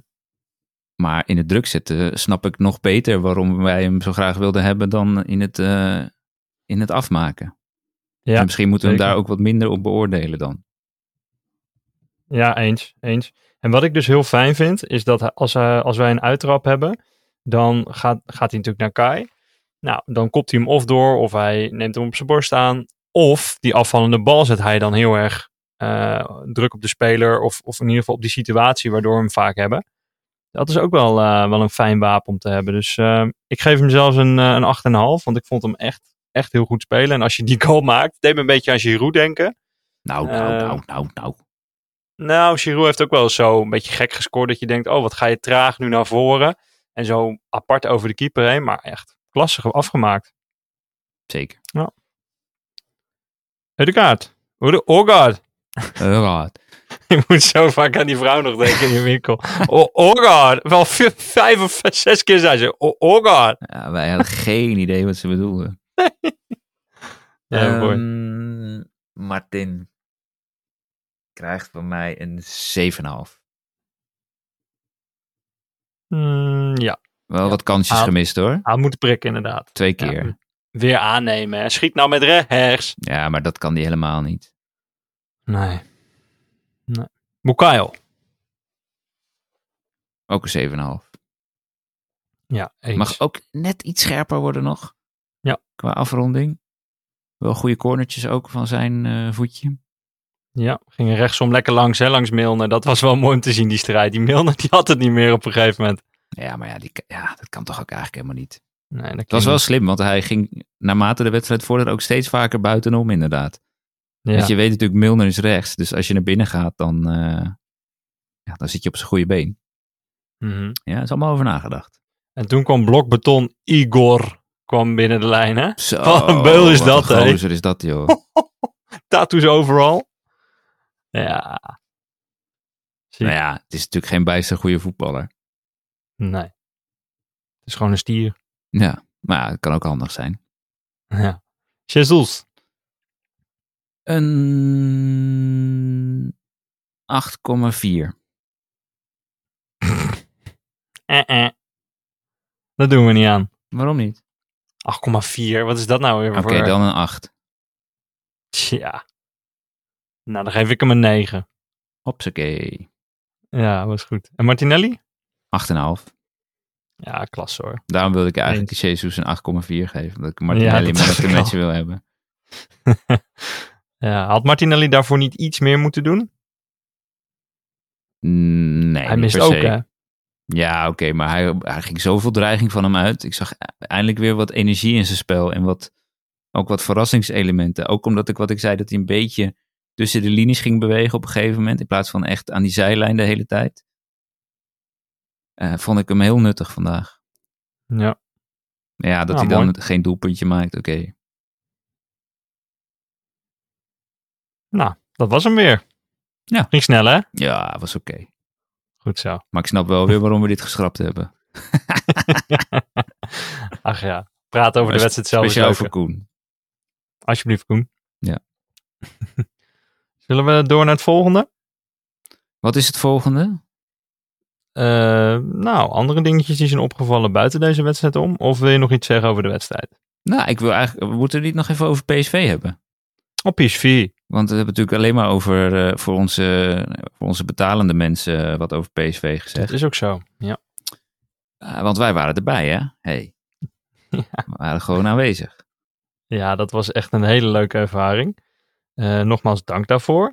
Speaker 1: Maar in het druk zetten snap ik nog beter waarom wij hem zo graag wilden hebben dan in het, eh, in het afmaken.
Speaker 4: Ja,
Speaker 1: en misschien moeten we hem
Speaker 4: zeker.
Speaker 1: daar ook wat minder op beoordelen dan.
Speaker 4: Ja, eens, eens. En wat ik dus heel fijn vind, is dat hij- als, hij- als wij een uittrap hebben, dan gaat, gaat hij natuurlijk naar Kai. Nou, dan kopt hij hem of door, of hij neemt hem op zijn borst aan. Of die afvallende bal zet hij dan heel erg eh, druk op de speler, of, of in ieder geval op die situatie waardoor we hem vaak hebben. Dat is ook wel, eh, wel een fijn wapen om te hebben. Dus eh, ik geef hem zelfs een, eh, een 8,5, want ik vond hem echt, echt heel goed spelen. En als je die goal maakt, deed me een beetje aan Giroud denken.
Speaker 1: Nou, nou,
Speaker 4: Eh,
Speaker 1: nou, nou, nou.
Speaker 4: Nou, Giroud heeft ook wel zo een beetje gek gescoord dat je denkt, oh, wat ga je traag nu naar voren. En zo apart over de keeper heen, maar echt klassig afgemaakt.
Speaker 1: Zeker.
Speaker 4: Hedegaard. Oede- Orgaard.
Speaker 1: Eh, raad.
Speaker 4: Je moet zo vaak aan die vrouw nog denken in die winkel. O- Orgaard. Wel v- vijf of zes keer zei ze, O- Orgaard.
Speaker 1: Ja, wij hadden geen idee wat ze bedoelden.
Speaker 4: Ja, mooi.
Speaker 1: Ehm, Martin krijgt van mij een 7,5.
Speaker 4: Mm, ja,
Speaker 1: Wel wat kansjes
Speaker 4: Ah.
Speaker 1: gemist hoor.
Speaker 4: aan moeten prikken inderdaad.
Speaker 1: Twee keer.
Speaker 4: Ja.
Speaker 1: Ja.
Speaker 4: Weer aannemen. hè. Schiet nou met rechts.
Speaker 1: maar dat kan die helemaal niet.
Speaker 4: Nee. nee. Bukayo.
Speaker 1: Ook een 7,5.
Speaker 4: Ja, eens.
Speaker 1: Mag ook net iets scherper worden nog.
Speaker 4: Ja.
Speaker 1: Qua afronding. Wel goede cornertjes ook van zijn eh, voetje.
Speaker 4: Ja, ging rechtsom lekker langs, hè, langs Milner. Dat was wel mooi om te zien, die strijd. Die Milner die had het niet meer op een gegeven moment.
Speaker 1: Ja, maar ja, die, ka- ja, dat kan toch ook eigenlijk helemaal niet.
Speaker 4: Nee, dat
Speaker 1: Het was wel slim, want hij ging naarmate de wedstrijd vorderde ook steeds vaker buitenom inderdaad.
Speaker 4: Ja,
Speaker 1: Want je weet natuurlijk, Milner is rechts. Dus als je naar binnen gaat, dan, eh, ja, dan zit je op zijn goede been.
Speaker 4: mhm.
Speaker 1: Ja, is allemaal over nagedacht.
Speaker 4: En toen kwam blokbeton Igor kwam binnen de lijn, hè?
Speaker 1: Zo,
Speaker 4: Wat een beul is
Speaker 1: wat
Speaker 4: dat,
Speaker 1: een
Speaker 4: hè?
Speaker 1: gozer is dat, joh. Nou
Speaker 4: Tattoos overal. Ja. Zie
Speaker 1: nou
Speaker 4: je?
Speaker 1: ja, het is natuurlijk geen bijster goede voetballer. Nou
Speaker 4: Nee. Het is gewoon een stier.
Speaker 1: Ja, maar ja, het kan ook handig zijn.
Speaker 4: Ja. Jesus.
Speaker 1: Een 8,4.
Speaker 4: Eh, eh. Dat doen we niet aan.
Speaker 1: Waarom niet?
Speaker 4: 8,4. Wat is dat nou weer
Speaker 1: Oké,
Speaker 4: voor...
Speaker 1: dan een 8.
Speaker 4: Tja. Nou, dan geef ik hem een 9.
Speaker 1: Hopsakee.
Speaker 4: Ja, was goed. En Martinelli?
Speaker 1: 8,5.
Speaker 4: Ja, klasse hoor.
Speaker 1: Daarom wilde ik eigenlijk Jesus een 8,4 geven. Omdat ik Martinelli
Speaker 4: Ja, dat
Speaker 1: maar
Speaker 4: dacht
Speaker 1: dat een
Speaker 4: ik al.
Speaker 1: match wil hebben.
Speaker 4: Ja, had Martinelli daarvoor niet iets meer moeten doen?
Speaker 1: Nee,
Speaker 4: hij
Speaker 1: niet
Speaker 4: mist
Speaker 1: per
Speaker 4: ook,
Speaker 1: se.
Speaker 4: hè?
Speaker 1: Ja, oké, maar hij, hij ging zoveel dreiging van hem uit. Ik zag eindelijk weer wat energie in zijn spel en wat, ook wat verrassingselementen. Ook omdat ik wat ik zei, dat hij een beetje tussen de linies ging bewegen op een gegeven moment, in plaats van echt aan die zijlijn de hele tijd. Eh, vond ik hem heel nuttig vandaag.
Speaker 4: Ja.
Speaker 1: Ja, dat
Speaker 4: Nou,
Speaker 1: hij dan
Speaker 4: mooi.
Speaker 1: geen doelpuntje maakt, oké.
Speaker 4: Nou, dat was hem weer.
Speaker 1: Ja.
Speaker 4: Ging snel, hè?
Speaker 1: Ja, was oké.
Speaker 4: Goed zo.
Speaker 1: Maar ik snap wel weer waarom we dit geschrapt hebben.
Speaker 4: Ach ja. Praat over de
Speaker 1: Maar
Speaker 4: wedstrijd zelf. is
Speaker 1: Speciaal
Speaker 4: leuker.
Speaker 1: voor Koen.
Speaker 4: Alsjeblieft, Koen.
Speaker 1: Ja.
Speaker 4: Zullen we door naar het volgende?
Speaker 1: Wat is het volgende?
Speaker 4: Eh, nou, andere dingetjes die zijn opgevallen buiten deze wedstrijd om? Of wil je nog iets zeggen over de wedstrijd?
Speaker 1: Nou, ik wil eigenlijk, we moeten het niet nog even over PSV hebben.
Speaker 4: Op PSV.
Speaker 1: Want we hebben natuurlijk alleen maar over eh, voor, onze, voor onze betalende mensen eh, wat over PSV gezegd.
Speaker 4: Dat is ook zo. Ja.
Speaker 1: Ah, want wij waren erbij, hè? Hey. We waren gewoon aanwezig.
Speaker 4: ja, dat was echt een hele leuke ervaring. Eh, nogmaals, dank daarvoor.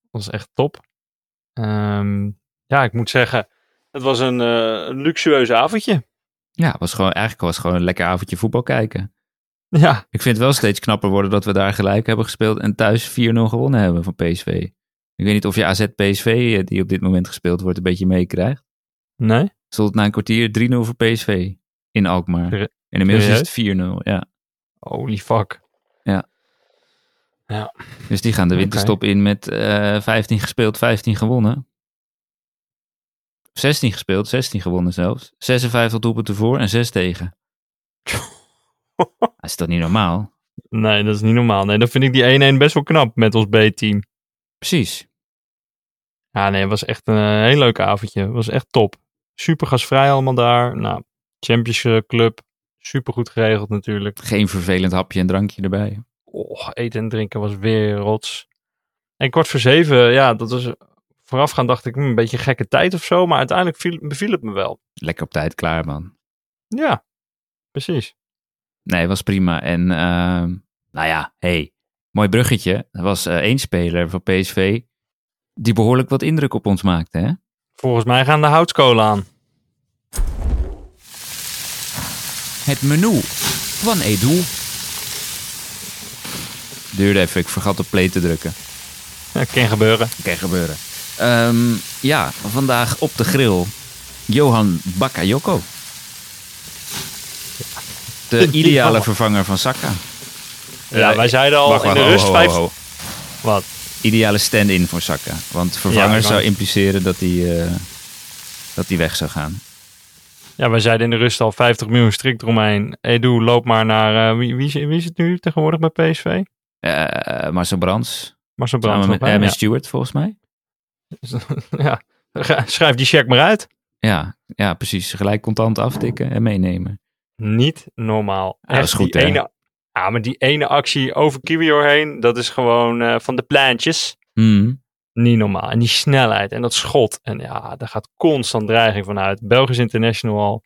Speaker 4: Dat was echt top. Ehm, ja, ik moet zeggen, het was een eh, een luxueus avondje.
Speaker 1: Ja, was gewoon, eigenlijk was het gewoon een lekker avondje voetbal kijken.
Speaker 4: Ja,
Speaker 1: Ik vind het wel steeds knapper worden dat we daar gelijk hebben gespeeld en thuis 4-0 gewonnen hebben van PSV. Ik weet niet of je AZ PSV, eh, die op dit moment gespeeld wordt, een beetje meekrijgt.
Speaker 4: nee?
Speaker 1: Stond het na een kwartier 3-0 voor PSV in Alkmaar.
Speaker 4: Ser-
Speaker 1: En inmiddels is het 4-0, ja.
Speaker 4: Holy fuck.
Speaker 1: Dus die gaan de winterstop in met eh 15 gespeeld, 15 gewonnen. 16 gespeeld, 16 gewonnen zelfs. 56 doelpunten voor en 6 tegen. Dat is toch niet normaal?
Speaker 4: Nee, dat is niet normaal. Nee, dan vind ik die 1-1 best wel knap met ons B-team.
Speaker 1: Precies.
Speaker 4: Ja, nee, het was echt een eh, heel leuk avondje. Het was echt top. Super gasvrij allemaal daar. Nou, Champions eh, Club. Super goed geregeld natuurlijk.
Speaker 1: Geen vervelend hapje en drankje erbij.
Speaker 4: Och, Oh, eten en drinken was weer rots. En kwart voor zeven, ja, dat was voorafgaand dacht ik hm, een beetje gekke tijd of zo. Maar uiteindelijk viel, beviel het me wel.
Speaker 1: Lekker op tijd klaar, man.
Speaker 4: Ja, precies.
Speaker 1: Nee, was prima. En ehm, nou ja, hey, mooi bruggetje. Er was eh, één speler van PSV die behoorlijk wat indruk op ons maakte, hè?
Speaker 4: Volgens mij gaan de houtskolen aan.
Speaker 1: Het menu van Edu. Duurde even, ik vergat op play te drukken.
Speaker 4: Dat kan gebeuren.
Speaker 1: Kan gebeuren. Ehm, ja, vandaag op de grill Johan Bakayoko. De
Speaker 4: Die
Speaker 1: ideale
Speaker 4: man.
Speaker 1: vervanger van Saka.
Speaker 4: Ja,
Speaker 1: Eh,
Speaker 4: wij zeiden al
Speaker 1: wacht,
Speaker 4: in
Speaker 1: wacht,
Speaker 4: de
Speaker 1: ho,
Speaker 4: rust
Speaker 1: ho,
Speaker 4: vijf...
Speaker 1: ho, ho.
Speaker 4: Wat?
Speaker 1: Ideale stand-in voor Saka. Want
Speaker 4: Ja,
Speaker 1: vervanger
Speaker 4: ik
Speaker 1: zou
Speaker 4: wou-
Speaker 1: impliceren dat hij, eh, dat hij weg zou gaan.
Speaker 4: Ja, wij zeiden in de rust al 50 miljoen strikt eromheen. Edu, loop maar naar... eh, wie, wie, is- wie is het nu tegenwoordig bij PSV?
Speaker 1: Eh Marcel Brands.
Speaker 4: Marcel Brands.
Speaker 1: Samen met,
Speaker 4: nog bij,
Speaker 1: eh, met
Speaker 4: ja.
Speaker 1: Stewart, volgens mij.
Speaker 4: ja. Ga- Schrijf die check maar uit.
Speaker 1: Ja, ja, precies. Gelijk contant aftikken en meenemen.
Speaker 4: Niet normaal.
Speaker 1: Ja, dat is goed,
Speaker 4: die
Speaker 1: hè?
Speaker 4: ene, Ja, maar die ene actie over Kiwior heen, dat is gewoon eh, van de plantjes.
Speaker 1: Hmm.
Speaker 4: Niet normaal. En die snelheid en dat schot. En ja, daar gaat constant dreiging van uit. Belgisch International al.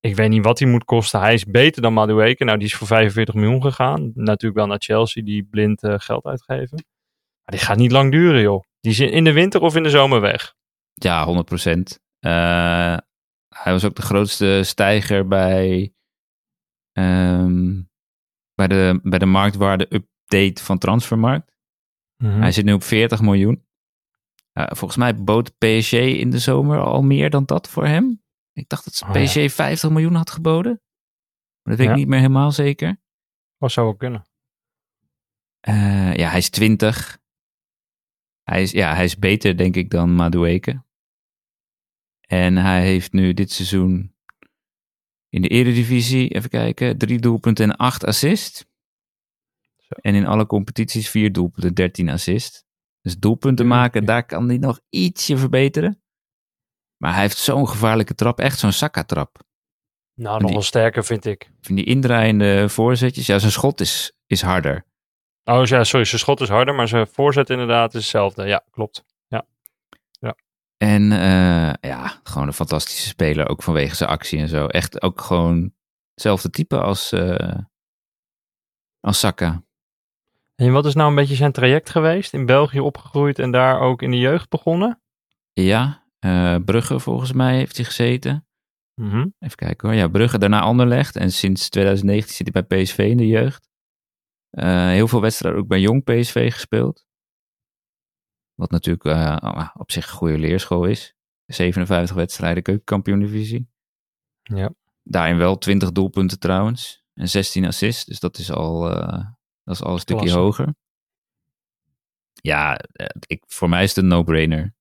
Speaker 4: Ik weet niet wat hij moet kosten. Hij is beter dan Madueke. Nou, die is voor 45 miljoen gegaan. Natuurlijk wel naar Chelsea, die blind eh, geld uitgeven. Maar dit gaat niet lang duren, joh. Die is in in de winter of in de zomer weg.
Speaker 1: Ja, 100 procent. Eh, hij was ook de grootste stijger bij, ehm, bij, de, bij de marktwaarde-update van Transfermarkt.
Speaker 4: Hmm.
Speaker 1: Hij zit nu op 40 miljoen. Eh, volgens mij bood PSG in de zomer al meer dan dat voor hem. Ik dacht dat
Speaker 4: Oh, ja.
Speaker 1: PSG 50 miljoen had geboden. Maar dat weet
Speaker 4: Ja.
Speaker 1: ik niet meer helemaal zeker.
Speaker 4: Wat zou wel kunnen?
Speaker 1: Eh, ja, hij is 20. Hij is, ja, hij is beter, denk ik, dan Madueke. En hij heeft nu dit seizoen in de Eredivisie, even kijken, drie doelpunten en acht assist.
Speaker 4: Zo.
Speaker 1: En in alle competities vier doelpunten, 13 assist. Dus doelpunten maken, daar kan hij nog ietsje verbeteren. Maar hij heeft zo'n gevaarlijke trap, echt zo'n Saka-trap.
Speaker 4: Nou,
Speaker 1: nog
Speaker 4: nog
Speaker 1: wel
Speaker 4: wel sterker vind ik.
Speaker 1: Van die indraaiende voorzetjes. Ja, zijn schot is, is harder.
Speaker 4: Oh ja, sorry, zijn schot is harder, maar zijn voorzet inderdaad is hetzelfde. Ja, klopt.
Speaker 1: En eh, ja, gewoon een fantastische speler, ook vanwege zijn actie en zo. Echt ook gewoon hetzelfde type als, eh als Saka.
Speaker 4: En wat is nou een beetje zijn traject geweest? In België opgegroeid en daar ook in de jeugd begonnen?
Speaker 1: Ja, eh, Brugge volgens mij heeft hij gezeten.
Speaker 4: Mhm.
Speaker 1: Even kijken hoor. Ja, Brugge, daarna Anderlecht. En sinds 2019 zit hij bij PSV in de jeugd. Eh, heel veel wedstrijden ook bij Jong PSV gespeeld. Wat natuurlijk eh, op zich een goede leerschool is. 57 wedstrijden keukenkampioen divisie.
Speaker 4: Ja.
Speaker 1: Daarin wel 20 doelpunten trouwens. En 16 assists. Dus dat is al, eh, dat is al een stukje
Speaker 4: Klasse.
Speaker 1: hoger. Ja, eh, ik, voor mij is het een no-brainer.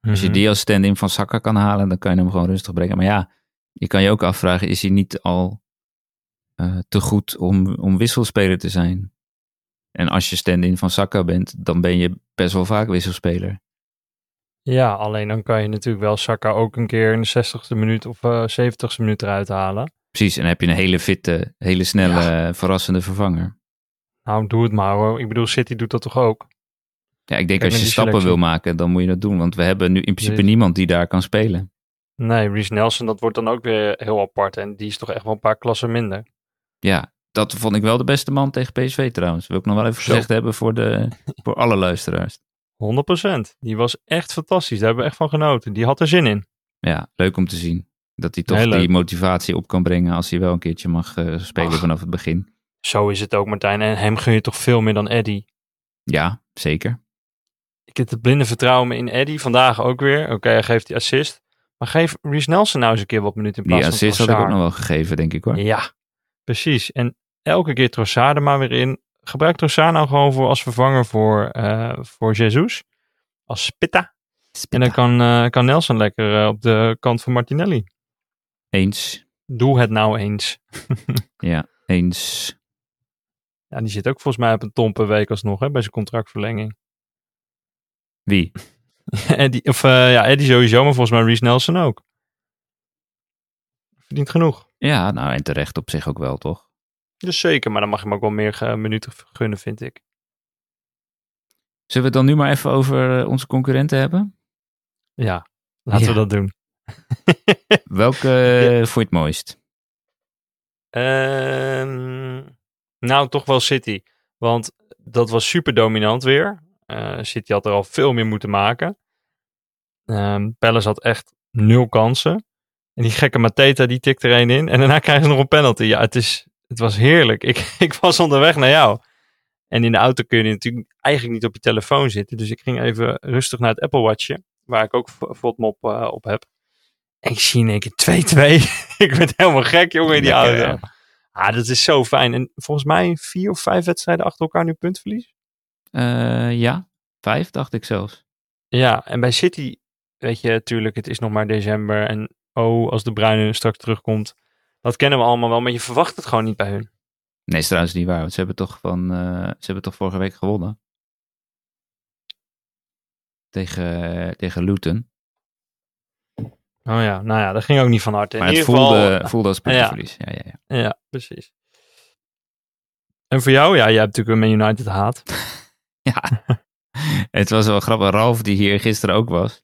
Speaker 1: Als je
Speaker 4: Mhm.
Speaker 1: die als stand-in van Saka kan halen, dan kan je hem gewoon rustig brengen. Maar ja, je kan je ook afvragen, is hij niet al eh, te goed om, om wisselspeler te zijn? En als je stand-in van Saka bent, dan ben je best wel vaak wisselspeler.
Speaker 4: Ja, alleen dan kan je natuurlijk wel Saka ook een keer in de 60ste minuut of eh 70ste minuut eruit halen.
Speaker 1: Precies, en dan heb je een hele fitte, hele snelle, eh, verrassende vervanger.
Speaker 4: Nou, doe het maar hoor. Ik bedoel, City doet dat toch ook?
Speaker 1: Ja, ik denk als
Speaker 4: Kijk naar
Speaker 1: je
Speaker 4: die
Speaker 1: stappen
Speaker 4: selectie.
Speaker 1: wil maken, dan moet je dat doen. Want we hebben nu in principe
Speaker 4: Precies.
Speaker 1: niemand die daar kan spelen.
Speaker 4: Nee, Reece Nelson, dat wordt dan ook weer heel apart. En die is toch echt wel een paar klassen minder.
Speaker 1: Ja, dat vond ik wel de beste man tegen PSV trouwens. Wil ik nog wel even
Speaker 4: Zo.
Speaker 1: gezegd hebben voor, de, voor alle luisteraars.
Speaker 4: 100%. Die was echt fantastisch. Daar hebben we echt van genoten. Die had er zin in.
Speaker 1: Ja, leuk om te zien. Dat hij toch
Speaker 4: Heel leuk.
Speaker 1: die motivatie op kan brengen als hij wel een keertje mag eh, spelen
Speaker 4: Ach.
Speaker 1: vanaf het begin.
Speaker 4: Zo is het ook, Martijn. En hem gun je toch veel meer dan Eddie.
Speaker 1: Ja, zeker.
Speaker 4: Ik heb het blinde vertrouwen in Eddie. Vandaag ook weer. Oké, hij geeft die assist. Maar geef Reece Nelson nou eens een keer wat minuten in
Speaker 1: Die
Speaker 4: plaats
Speaker 1: assist
Speaker 4: van
Speaker 1: had ik ook
Speaker 4: Trossard.
Speaker 1: nog wel gegeven, denk ik hoor.
Speaker 4: Ja, precies. En elke keer Trossard er maar weer in. Gebruik Trossard nou gewoon voor als vervanger voor, eh, voor Jesus. Als spitta. En dan kan, eh, kan Nelson lekker eh, op de kant van Martinelli.
Speaker 1: Eens.
Speaker 4: Doe het nou eens.
Speaker 1: Ja, eens.
Speaker 4: Ja, die zit ook volgens mij op een ton per week alsnog hè, bij zijn contractverlenging.
Speaker 1: Wie?
Speaker 4: Eddie, of eh, ja, Eddie sowieso, maar volgens mij Reece Nelson ook. Verdient genoeg.
Speaker 1: Ja, nou en terecht op zich ook wel, toch?
Speaker 4: Dus zeker, maar dan mag je hem ook wel meer eh, minuten gunnen, vind ik.
Speaker 1: Zullen we het dan nu maar even over eh, onze concurrenten hebben?
Speaker 4: Ja, laten
Speaker 1: Ja.
Speaker 4: we dat doen.
Speaker 1: Welke eh, vond je het mooist?
Speaker 4: Ehm, nou, toch wel City. Want dat was super dominant weer. Eh, City had er al veel meer moeten maken. Ehm Palace had echt nul kansen. En die gekke Mateta, die tikt er één in. En daarna krijgen ze nog een penalty. Ja, het, is, het was heerlijk. Ik, ik was onderweg naar jou. En in de auto kun je natuurlijk eigenlijk niet op je telefoon zitten. Dus ik ging even rustig naar het Apple Watchje. Waar ik ook FODMOP op eh, op heb. En ik zie in één keer 2-2. ik werd helemaal gek, jongen, in die
Speaker 1: Lekker,
Speaker 4: auto. Ah, dat is zo fijn. En volgens mij vier of vijf wedstrijden achter elkaar nu puntverlies.
Speaker 1: Eh, ja, vijf dacht ik zelfs.
Speaker 4: Ja, en bij City, weet je, tuurlijk, het is nog maar december. En oh, als de Bruyne straks terugkomt. Dat kennen we allemaal wel, maar je verwacht het gewoon niet bij hun.
Speaker 1: Nee, is trouwens niet waar. Want ze hebben toch, van, eh, ze hebben toch vorige week gewonnen? Tegen, tegen Luton.
Speaker 4: Oh ja, nou ja, dat ging ook niet van harte. In
Speaker 1: Maar het
Speaker 4: ieder geval-
Speaker 1: voelde, voelde als puntenverlies. Ja, ja, ja.
Speaker 4: Ja, precies. En voor jou, ja, jij hebt natuurlijk een Man United haat.
Speaker 1: ja. het was wel grappig. Ralf, die hier gisteren ook was,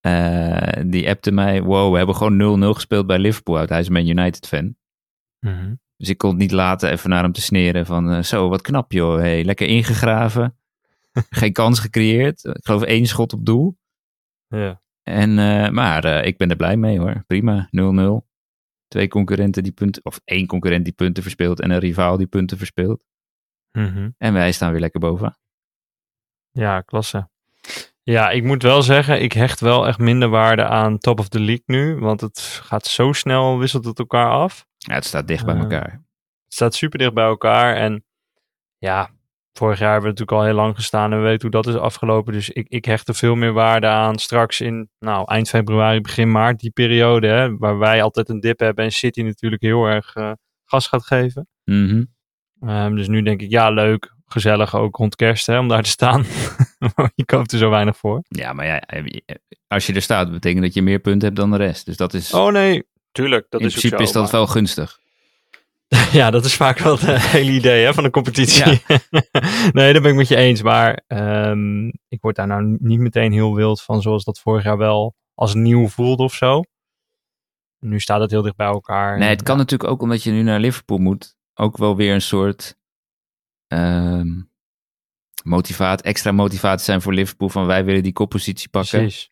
Speaker 1: eh, die appte mij: Wow, we hebben gewoon 0-0 gespeeld bij Liverpool uit. Hij is een Man United fan.
Speaker 4: Mhm.
Speaker 1: Dus ik kon het niet laten even naar hem te sneren van eh, zo, wat knap joh. Hey, lekker ingegraven. Geen kans gecreëerd. Ik geloof één schot op doel.
Speaker 4: Ja.
Speaker 1: En, eh, maar eh, ik ben er blij mee hoor. Prima, 0-0. Twee concurrenten die punten, of één concurrent die punten verspeelt en een rivaal die punten verspeelt.
Speaker 4: Mhm.
Speaker 1: En wij staan weer lekker bovenaan.
Speaker 4: Ja, klasse. Ja, ik moet wel zeggen, ik hecht wel echt minder waarde aan top of the league nu. Want het gaat zo snel, wisselt het elkaar af.
Speaker 1: Ja, het staat dicht bij
Speaker 4: Ja.
Speaker 1: elkaar.
Speaker 4: Het staat super dicht bij elkaar. En ja, vorig jaar hebben we natuurlijk al heel lang gestaan en we weten hoe dat is afgelopen. Dus ik, ik hecht er veel meer waarde aan straks in, nou, eind februari, begin maart, die periode. Hè, waar wij altijd een dip hebben en City natuurlijk heel erg eh, gas gaat geven.
Speaker 1: Mhm.
Speaker 4: Ehm, dus nu denk ik, ja, leuk, gezellig ook rond kerst hè, om daar te staan. Maar je koopt er zo weinig voor.
Speaker 1: Ja, maar ja, eh, als je er staat, betekent dat je meer punten hebt dan de rest. Dus dat is,
Speaker 4: Oh nee, tuurlijk, dat
Speaker 1: in
Speaker 4: is ook
Speaker 1: principe
Speaker 4: zo,
Speaker 1: is dat
Speaker 4: maar-
Speaker 1: wel gunstig.
Speaker 4: Ja, dat is vaak wel het hele idee hè, van de competitie. nee, dat ben ik met je eens. Maar ehm, ik word daar nou niet meteen heel wild van, zoals dat vorig jaar wel als nieuw voelde of zo. Nu staat het heel dicht bij elkaar.
Speaker 1: Nee, het kan natuurlijk ook omdat je nu naar Liverpool moet. Ook wel weer een soort ehm motivaat, extra motivatie zijn voor Liverpool. Van wij willen die koppositie pakken.
Speaker 4: Precies.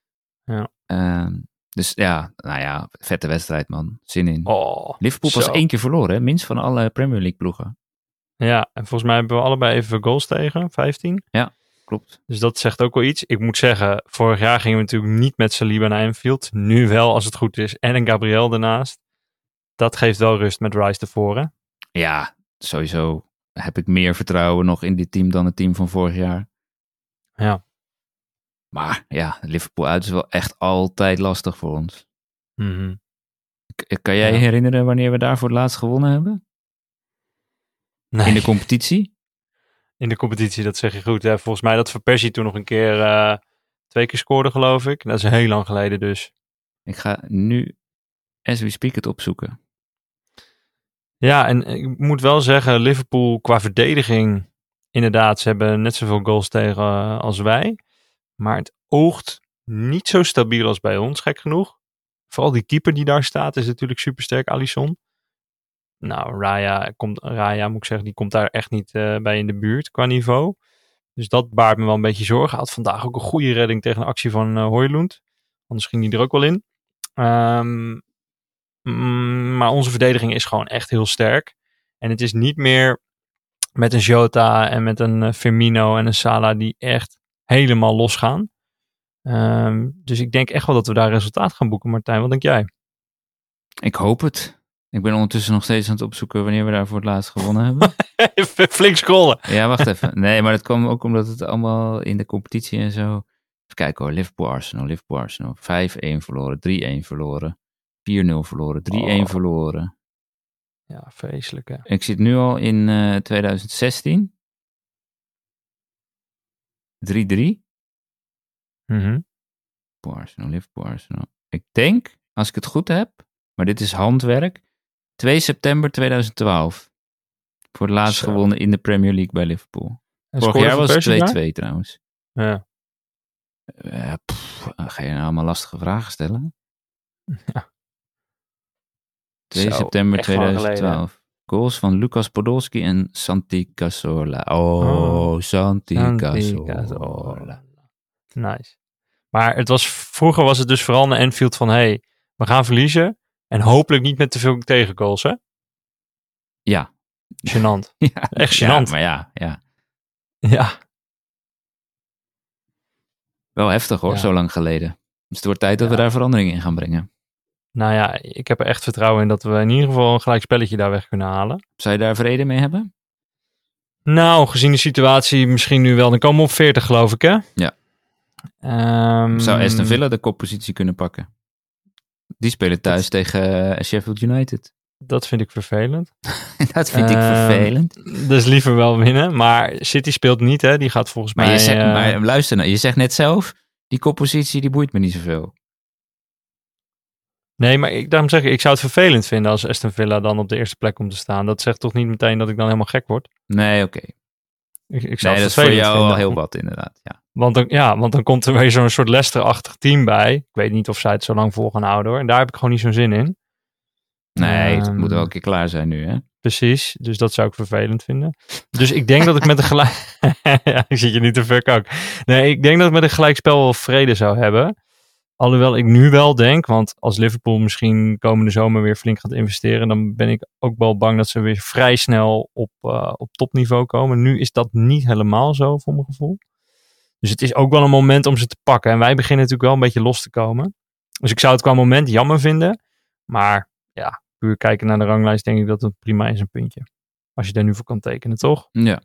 Speaker 1: Ehm, dus ja, nou ja, vette wedstrijd man. Zin in.
Speaker 4: Oh,
Speaker 1: Liverpool
Speaker 4: zo.
Speaker 1: was één keer verloren, hè? minst van alle Premier League ploegen.
Speaker 4: Ja, en volgens mij hebben we allebei even goals tegen, 15.
Speaker 1: Klopt.
Speaker 4: Dus dat zegt ook wel iets. Ik moet zeggen, vorig jaar gingen we natuurlijk niet met Saliba naar Anfield. Nu wel, als het goed is. En een Gabriel daarnaast. Dat geeft wel rust met Rice tevoren.
Speaker 1: Ja, sowieso heb ik meer vertrouwen nog in dit team dan het team van vorig jaar.
Speaker 4: Ja.
Speaker 1: Maar ja, Liverpool uit is wel echt altijd lastig voor ons. Mhm. K- eh, kan jij
Speaker 4: Ja.
Speaker 1: je herinneren wanneer we daar voor het laatst gewonnen hebben?
Speaker 4: Nee.
Speaker 1: In de competitie?
Speaker 4: In de competitie, dat zeg je goed. Hè? Volgens mij dat Verpersie toen nog een keer eh, twee keer scoorde, geloof ik. Dat is heel lang geleden dus.
Speaker 1: Ik ga nu as we speak het opzoeken.
Speaker 4: Ja, en ik moet wel zeggen, Liverpool qua verdediging, inderdaad, ze hebben net zoveel goals tegen eh, als wij. Maar het oogt niet zo stabiel als bij ons, gek genoeg. Vooral die keeper die daar staat is natuurlijk supersterk, Alisson. Nou, Raya, komt, Raya moet ik zeggen, die komt daar echt niet eh, bij in de buurt qua niveau. Dus dat baart me wel een beetje zorgen. Hij had vandaag ook een goede redding tegen een actie van eh Hoylund. Anders ging die er ook wel in. Ehm Mm, maar onze verdediging is gewoon echt heel sterk. En het is niet meer met een Jota en met een eh, Firmino en een Sala die echt helemaal losgaan. Ehm, dus ik denk echt wel dat we daar resultaat gaan boeken, Martijn. Wat denk jij?
Speaker 1: Ik hoop het. Ik ben ondertussen nog steeds aan het opzoeken wanneer we daar voor het laatst gewonnen hebben.
Speaker 4: Even flink scrollen.
Speaker 1: ja, wacht even. Nee, maar dat kwam ook omdat het allemaal in de competitie en zo. Even kijken hoor. Liverpool Arsenal, Liverpool Arsenal. 5-1 verloren, 3-1 verloren, 4-0 verloren, 3-1
Speaker 4: Oh.
Speaker 1: verloren.
Speaker 4: Ja, vreselijk hè.
Speaker 1: Ik zit nu al in eh, 2016. 3-3.
Speaker 4: Mhm.
Speaker 1: Liverpool, Arsenal, Liverpool, Arsenal. Ik denk, als ik het goed heb, maar dit is handwerk, 2 september 2012. Voor het laatst
Speaker 4: Zo.
Speaker 1: gewonnen in de Premier League bij Liverpool.
Speaker 4: En
Speaker 1: Vorig
Speaker 4: scoorde
Speaker 1: jaar
Speaker 4: Van
Speaker 1: was
Speaker 4: Persie daar?
Speaker 1: het 2-2 trouwens.
Speaker 4: Ja.
Speaker 1: Eh, pff, ga je nou allemaal lastige vragen stellen?
Speaker 4: Ja.
Speaker 1: 2
Speaker 5: Zo,
Speaker 1: september
Speaker 5: echt lang geleden, hè?
Speaker 1: 2012. Goals van Lucas Podolski en Santi Cazorla. Oh,
Speaker 4: Oh.
Speaker 1: Santi Cazorla.
Speaker 4: Cazorla. Nice. Maar het was, vroeger was het dus vooral een Enfield van... hey, we gaan verliezen en hopelijk niet met te veel tegengoals, hè?
Speaker 1: Ja.
Speaker 4: Gênant.
Speaker 1: Ja,
Speaker 4: Echt
Speaker 1: ja,
Speaker 4: gênant.
Speaker 1: maar ja, ja,
Speaker 4: Ja.
Speaker 1: wel heftig hoor,
Speaker 4: Ja.
Speaker 1: zo lang geleden. Dus het wordt tijd dat we
Speaker 4: Ja.
Speaker 1: daar verandering in gaan brengen.
Speaker 4: Nou ja, ik heb er echt vertrouwen in dat we in ieder geval een gelijk spelletje daar weg kunnen halen.
Speaker 1: Zou je daar vrede mee hebben?
Speaker 4: Nou, gezien de situatie misschien nu wel. Dan komen we op 40 geloof ik hè?
Speaker 1: Ja.
Speaker 4: Ehm,
Speaker 1: Zou Aston Villa de koppositie kunnen pakken? Die spelen thuis tegen eh, Sheffield United.
Speaker 4: Dat vind ik vervelend.
Speaker 1: dat vind ik
Speaker 4: Ehm,
Speaker 1: vervelend.
Speaker 4: Dus liever wel winnen. Maar City speelt niet hè. Die gaat volgens
Speaker 1: Maar,
Speaker 4: mij...
Speaker 1: je zegt,
Speaker 4: eh,
Speaker 1: maar luister nou, je zegt net zelf, die koppositie die boeit me niet zoveel.
Speaker 4: Nee, maar ik, daarom zeg ik, ik zou het vervelend vinden als Aston Villa dan op de eerste plek komt te staan. Dat zegt toch niet meteen dat ik dan helemaal gek word?
Speaker 1: Nee, oké.
Speaker 4: Ik, ik
Speaker 1: Nee,
Speaker 4: zou
Speaker 1: dat
Speaker 4: het
Speaker 1: is voor
Speaker 4: vervelend
Speaker 1: jou
Speaker 4: vinden.
Speaker 1: al heel wat inderdaad. Ja.
Speaker 4: Want dan, ja, want dan komt er weer zo'n soort Leicester-achtig team bij. Ik weet niet of zij het zo lang vol gaan houden hoor. En daar heb ik gewoon niet zo'n zin in.
Speaker 1: Nee, het moet
Speaker 4: Ehm,
Speaker 1: wel een keer klaar zijn nu hè.
Speaker 4: Precies, dus dat zou ik vervelend vinden. Dus ik denk dat ik met een gelijk... ja, ik zit je niet te fuck ook. Nee, ik denk dat ik met een gelijkspel wel vrede zou hebben. Alhoewel ik nu wel denk, want als Liverpool misschien komende zomer weer flink gaat investeren, dan ben ik ook wel bang dat ze weer vrij snel op, eh, op topniveau komen. Nu is dat niet helemaal zo, voor mijn gevoel. Dus het is ook wel een moment om ze te pakken. En wij beginnen natuurlijk wel een beetje los te komen. Dus ik zou het qua moment jammer vinden. Maar puur kijken naar de ranglijst, denk ik dat het prima is een puntje. Als je daar nu voor kan tekenen, toch?
Speaker 1: Ja.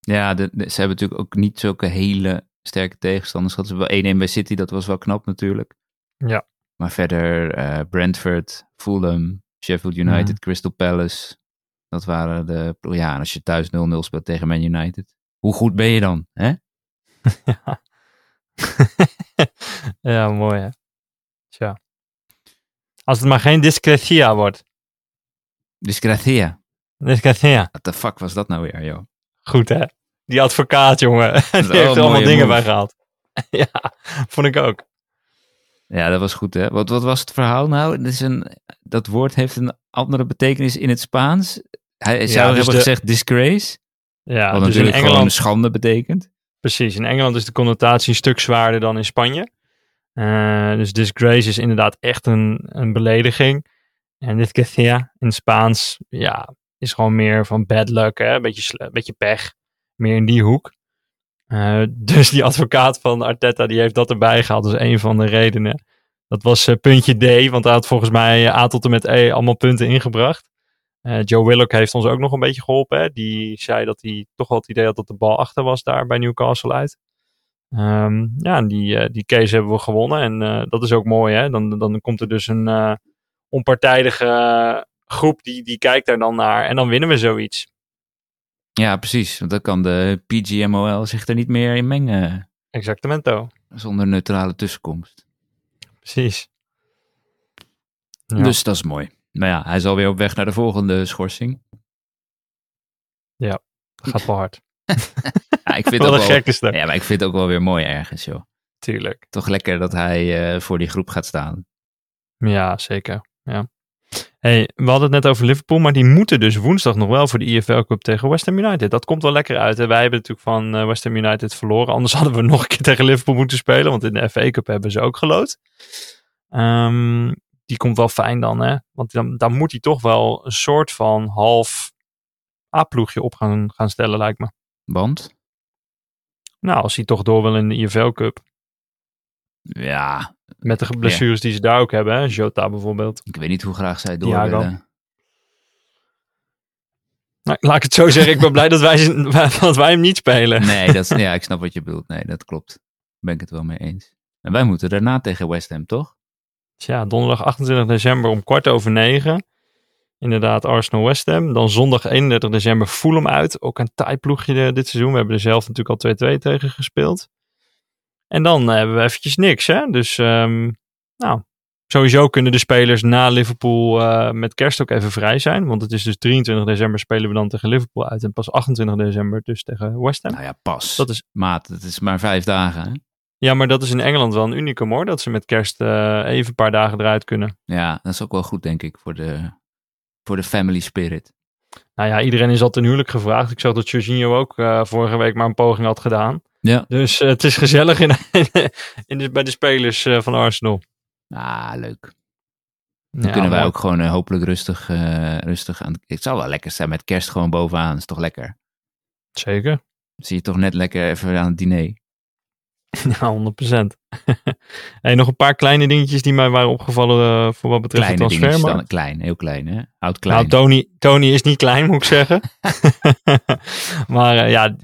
Speaker 1: Ja, de- de- ze hebben natuurlijk ook niet zulke hele sterke tegenstanders. Hadden ze wel 1-1 bij City, dat was wel knap natuurlijk.
Speaker 4: Ja.
Speaker 1: Maar verder eh, Brentford, Fulham, Sheffield
Speaker 4: Mhm.
Speaker 1: United, Crystal Palace. Dat waren de... Ja, en als je thuis 0-0 speelt tegen Man United. Hoe goed ben je dan, hè?
Speaker 4: Ja, ja mooi hè. Tja. Als het maar geen discretia wordt.
Speaker 1: Discracia.
Speaker 4: Discretia.
Speaker 1: What the fuck was dat nou weer, joh?
Speaker 4: Goed hè. Die advocaat, jongen. Die heeft
Speaker 1: wel een
Speaker 4: er allemaal
Speaker 1: mooie
Speaker 4: dingen
Speaker 1: move.
Speaker 4: bij gehaald. ja, vond ik ook.
Speaker 1: Ja, dat was goed, hè? Wat, wat was het verhaal nou? Dat, is een, dat woord heeft een andere betekenis in het Spaans. Hij zou
Speaker 4: dus
Speaker 1: hebben
Speaker 4: de-
Speaker 1: gezegd disgrace. Wat
Speaker 4: Ja, dus in
Speaker 1: natuurlijk gewoon
Speaker 4: Engeland
Speaker 1: schande betekent.
Speaker 4: Precies, in Engeland is de connotatie een stuk zwaarder dan in Spanje. Eh, dus disgrace is inderdaad echt een, een belediging. En dit Cathia in Spaans, ja, is gewoon meer van bad luck, hè? Beetje, sle- beetje pech. Meer in die hoek. Eh, dus die advocaat van Arteta, die heeft dat erbij gehaald als een van de redenen. Dat was eh, puntje D, want hij had volgens mij eh, A tot en met E allemaal punten ingebracht. Eh, Joe Willock heeft ons ook nog een beetje geholpen. Hè? Die zei dat hij toch wel het idee had dat de bal achter was daar bij Newcastle uit. Ehm, ja, en die, eh, die case hebben we gewonnen. En eh, dat is ook mooi. Hè? Dan, dan komt er dus een eh, onpartijdige eh, groep die, die kijkt daar dan naar. En dan winnen we zoiets.
Speaker 1: Ja, precies. Want dan kan de PGMOL zich er niet meer in mengen
Speaker 4: Exactemento.
Speaker 1: zonder neutrale tussenkomst.
Speaker 4: Precies. Ja.
Speaker 1: Dus dat is mooi. Maar ja, hij is alweer op weg naar de volgende schorsing.
Speaker 4: Dat gaat wel hard.
Speaker 1: Ja, ik vind
Speaker 4: Wat een
Speaker 1: ook wel,
Speaker 4: gek is dat.
Speaker 1: ja, maar ik vind het ook wel weer mooi ergens, joh.
Speaker 4: Tuurlijk.
Speaker 1: Toch lekker dat hij eh, voor die groep gaat staan.
Speaker 4: Ja, zeker. Ja. Hey, we hadden het net over Liverpool, maar die moeten dus woensdag nog wel voor de IFL Cup tegen West Ham United. Dat komt wel lekker uit. Hè? Wij hebben natuurlijk van eh, West Ham United verloren. Anders hadden we nog een keer tegen Liverpool moeten spelen, want in de FA Cup hebben ze ook gelood. Ehm, die komt wel fijn dan, hè? Want dan, dan moet hij toch wel een soort van half A-ploegje op gaan, gaan stellen, lijkt me.
Speaker 1: Want?
Speaker 4: Nou, als hij toch door wil in de IFL Cup.
Speaker 1: Ja,
Speaker 4: Met de blessures die ze daar ook hebben, hè? Jota bijvoorbeeld.
Speaker 1: ik weet niet hoe graag zij door
Speaker 4: Thiago.
Speaker 1: willen.
Speaker 4: Nou, laat ik het zo zeggen. Ik ben blij dat wij, dat wij hem niet spelen.
Speaker 1: Nee, dat, ja, ik snap wat je bedoelt. Nee, dat klopt. Ben ik het wel mee eens. En wij moeten daarna tegen West Ham, toch?
Speaker 4: Tja, donderdag 28 december om kwart over negen. Inderdaad, Arsenal-West Ham. Dan zondag 31 december Fulham uit. Ook een taai ploegje eh, dit seizoen. We hebben er zelf natuurlijk al 2-2 tegen gespeeld. En dan eh, hebben we eventjes niks, hè. Dus, ehm, nou, sowieso kunnen de spelers na Liverpool eh, met kerst ook even vrij zijn. Want het is dus 23 december spelen we dan tegen Liverpool uit. En pas 28 december dus tegen West Ham.
Speaker 1: Nou ja, pas.
Speaker 4: Dat is,
Speaker 1: Maat, het is maar vijf dagen. Hè?
Speaker 4: ja, maar dat is in Engeland wel een unicum hoor. Dat ze met kerst eh, even een paar dagen eruit kunnen.
Speaker 1: Ja, dat is ook wel goed, denk ik, voor de, voor de family spirit.
Speaker 4: Nou ja, iedereen is al ten huwelijk gevraagd. Ik zag dat Jorginho ook eh, vorige week maar een poging had gedaan.
Speaker 1: Ja.
Speaker 4: Dus eh, het is gezellig in, in de, bij de spelers eh, van Arsenal.
Speaker 1: Ah, leuk.
Speaker 4: Dan
Speaker 1: Dan kunnen wij ook gewoon eh, hopelijk rustig, eh, rustig aan. Het zou wel lekker zijn met kerst gewoon bovenaan. Is toch lekker?
Speaker 4: Zeker.
Speaker 1: Dan zie je toch net lekker even aan het diner.
Speaker 4: Ja, 100%. hey, nog een paar kleine dingetjes die mij waren opgevallen eh, voor wat betreft
Speaker 1: Kleine
Speaker 4: de
Speaker 1: dingetjes
Speaker 4: transfermarkt.
Speaker 1: dan. Klein, heel klein, hè? Houd klein.
Speaker 4: Nou, Tony, Tony is niet klein, moet ik zeggen. maar eh, ja,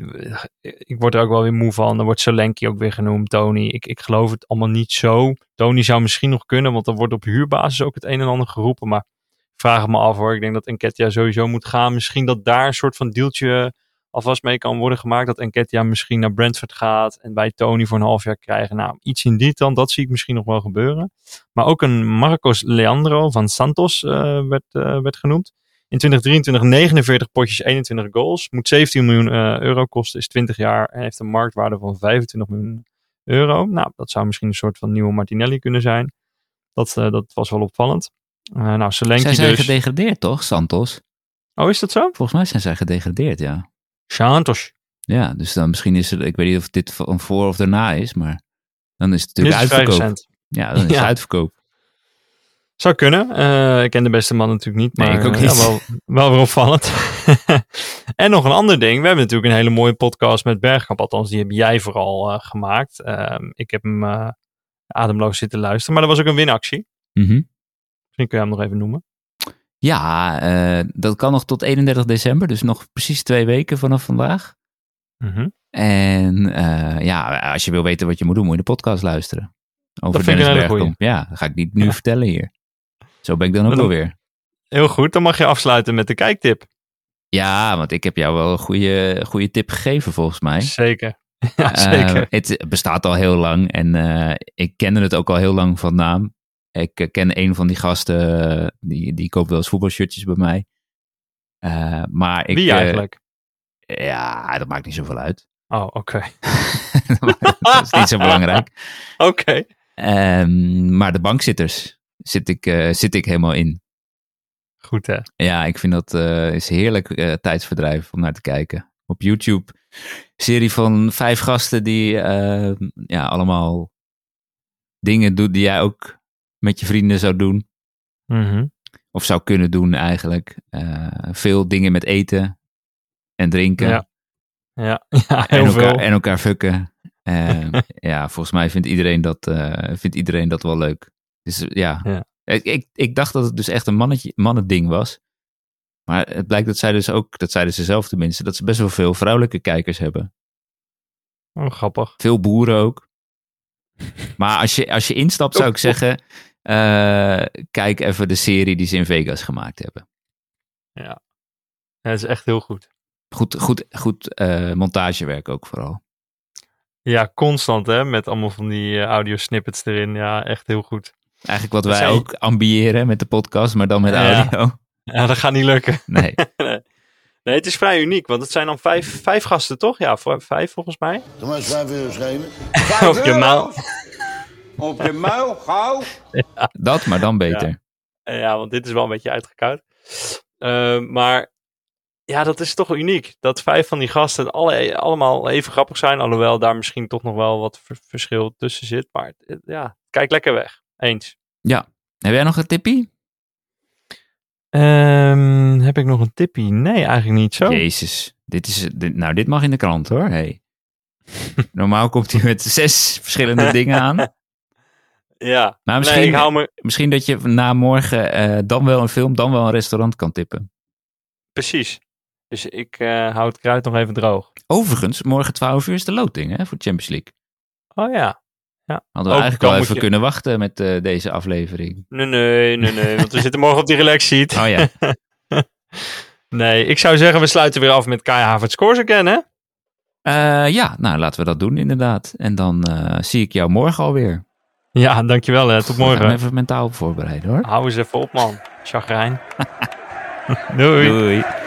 Speaker 4: ik word er ook wel weer moe van. Er wordt Solanke ook weer genoemd, Tony. Ik, ik geloof het allemaal niet zo. Tony zou misschien nog kunnen, want er wordt op huurbasis ook het een en ander geroepen. Maar ik vraag het me af hoor. Ik denk dat Enketia sowieso moet gaan. Misschien dat daar een soort van deeltje eh, alvast mee kan worden gemaakt. Dat Enketia misschien naar Brentford gaat en wij Tony voor een half jaar krijgen. Nou, iets in die dan, dat zie ik misschien nog wel gebeuren. Maar ook een Marcos Leandro van Santos eh, werd, eh, werd genoemd. In 2023 49 potjes, 21 goals. Moet 17 miljoen eh, euro kosten, is 20 jaar en heeft een marktwaarde van 25 miljoen euro. Nou, dat zou misschien een soort van nieuwe Martinelli kunnen zijn. Dat, eh, dat was wel opvallend. Eh, nou, Solanke
Speaker 1: zij
Speaker 4: dus.
Speaker 1: zijn gedegradeerd, toch, Santos?
Speaker 4: Oh, is dat zo?
Speaker 1: Volgens mij zijn zij gedegradeerd, ja.
Speaker 4: Santos.
Speaker 1: Ja, dus dan misschien is er, ik weet niet of dit van voor of daarna is, maar dan is het
Speaker 4: Dit is
Speaker 1: natuurlijk uitverkoop.
Speaker 4: cent.
Speaker 1: Ja, dan is het
Speaker 4: Ja.
Speaker 1: uitverkoop.
Speaker 4: Zou kunnen. Eh, ik ken de beste man natuurlijk niet. Maar
Speaker 1: Nee, ik ook
Speaker 4: eh,
Speaker 1: niet.
Speaker 4: ja, wel, wel weer opvallend. en nog een ander ding. We hebben natuurlijk een hele mooie podcast met Bergkamp. Althans, die heb jij vooral eh, gemaakt. Ehm, ik heb hem eh, ademloos zitten luisteren. Maar er was ook een winactie.
Speaker 1: Mhm.
Speaker 4: Misschien kun je hem nog even noemen.
Speaker 1: Ja, eh, dat kan nog tot 31 december, dus nog precies twee weken vanaf vandaag. Mhm. En eh, ja, als je wil weten wat je moet doen, moet je de podcast luisteren. Over
Speaker 4: Dat vind ik een
Speaker 1: Dennis
Speaker 4: hele
Speaker 1: Bergkamp. Ja, dat ga ik niet nu
Speaker 4: Ja.
Speaker 1: vertellen hier. Zo ben ik dan ook
Speaker 4: Wat
Speaker 1: wel
Speaker 4: een-
Speaker 1: weer.
Speaker 4: Heel goed. Dan mag je afsluiten met de kijktip.
Speaker 1: Ja, want ik heb jou wel een goede, goede tip gegeven volgens mij.
Speaker 4: Zeker. Ja,
Speaker 1: Eh,
Speaker 4: zeker.
Speaker 1: het bestaat al heel lang en eh, ik kende het ook al heel lang van naam. Ik eh, ken een van die gasten, eh, die, die koopt wel eens voetbalshirtjes bij mij. Eh, maar ik,
Speaker 4: Wie
Speaker 1: eh,
Speaker 4: eigenlijk?
Speaker 1: ja, dat maakt niet zoveel uit.
Speaker 4: oh, oké.
Speaker 1: dat is niet zo belangrijk.
Speaker 4: Oké.
Speaker 1: Ehm, maar de bankzitters zit ik, eh, zit ik helemaal in.
Speaker 4: Goed hè.
Speaker 1: Ja, ik vind dat eh, is heerlijk eh, tijdsverdrijf om naar te kijken. Op YouTube. Serie van vijf gasten die eh, ja, allemaal dingen doen die jij ook met je vrienden zou doen.
Speaker 4: Mhm.
Speaker 1: Of zou kunnen doen eigenlijk. Eh, veel dingen met eten en drinken.
Speaker 4: Ja, Ja, ja heel
Speaker 1: en, elkaar,
Speaker 4: veel.
Speaker 1: en elkaar fucken. Eh, ja, volgens mij vindt iedereen dat, eh, vindt iedereen dat wel leuk. Dus eh, ja,
Speaker 4: Ja.
Speaker 1: Ik, ik, ik dacht dat het dus echt een mannetje, mannending was. Maar het blijkt dat zij dus ook, dat zeiden ze zelf tenminste, dat ze best wel veel vrouwelijke kijkers hebben.
Speaker 4: Oh, grappig.
Speaker 1: Veel boeren ook. Maar als je, als je instapt
Speaker 4: Oh.
Speaker 1: zou ik zeggen, eh, kijk even de serie die ze in Vegas gemaakt hebben.
Speaker 4: Ja, dat is echt heel goed.
Speaker 1: Goed, goed, goed eh, montagewerk ook vooral.
Speaker 4: eh, Ja, constant hè, met allemaal van die audio snippets erin. Ja, echt heel goed.
Speaker 1: Eigenlijk wat
Speaker 4: Dat
Speaker 1: wij
Speaker 4: zei-
Speaker 1: ook ambiëren met de podcast, maar dan met
Speaker 4: Ja.
Speaker 1: audio.
Speaker 4: Ja, dat gaat niet lukken.
Speaker 1: Nee.
Speaker 4: Nee, het is vrij uniek, want het zijn dan vijf, vijf gasten, toch? Ja, v- vijf volgens mij.
Speaker 5: Doe maar eens vijf euro schrijven.
Speaker 4: Op je maal.
Speaker 5: Op je muil, gauw.
Speaker 1: Dat, maar dan beter.
Speaker 4: Eh, Ja, want dit is wel een beetje uitgekoud. Eh, maar ja, dat is toch uniek. Dat vijf van die gasten alle, allemaal even grappig zijn. Alhoewel daar misschien toch nog wel wat ver- verschil tussen zit. Maar eh, ja, kijk lekker weg. Eens.
Speaker 1: Heb jij nog een tippie?
Speaker 4: Ehm, heb ik nog een tippie? Nee, eigenlijk niet zo.
Speaker 1: Jezus. Dit is, dit- nou, dit mag in de krant hoor. Hey. Normaal komt hij met zes verschillende dingen aan.
Speaker 4: Ja,
Speaker 1: Maar
Speaker 4: nee,
Speaker 1: misschien,
Speaker 4: ik hou me...
Speaker 1: misschien dat je na morgen eh, dan wel een film, dan wel een restaurant kan tippen.
Speaker 4: Precies. Dus ik eh, hou het kruid nog even droog.
Speaker 1: Overigens, morgen 12 uur is de loting hè, voor de Champions League.
Speaker 4: Oh ja.
Speaker 1: Hadden we
Speaker 4: Ook
Speaker 1: eigenlijk
Speaker 4: dan
Speaker 1: wel
Speaker 4: moet
Speaker 1: even
Speaker 4: je-
Speaker 1: kunnen wachten met eh, deze aflevering.
Speaker 4: Nee, nee, nee, nee. want we zitten morgen op die relax sheet.
Speaker 1: Oh ja,
Speaker 4: Nee, ik zou zeggen, we sluiten weer af met Kai Havertz scores again, hè?
Speaker 1: Eh, ja nou laten we dat doen inderdaad. En dan eh, zie ik jou morgen alweer.
Speaker 4: Ja, dankjewel. Hè. Tot
Speaker 1: Ik ga me
Speaker 4: morgen.
Speaker 1: even mentaal op voorbereiden hoor.
Speaker 4: Hou eens even op, man. Chagrijn. Doei.
Speaker 1: Doei.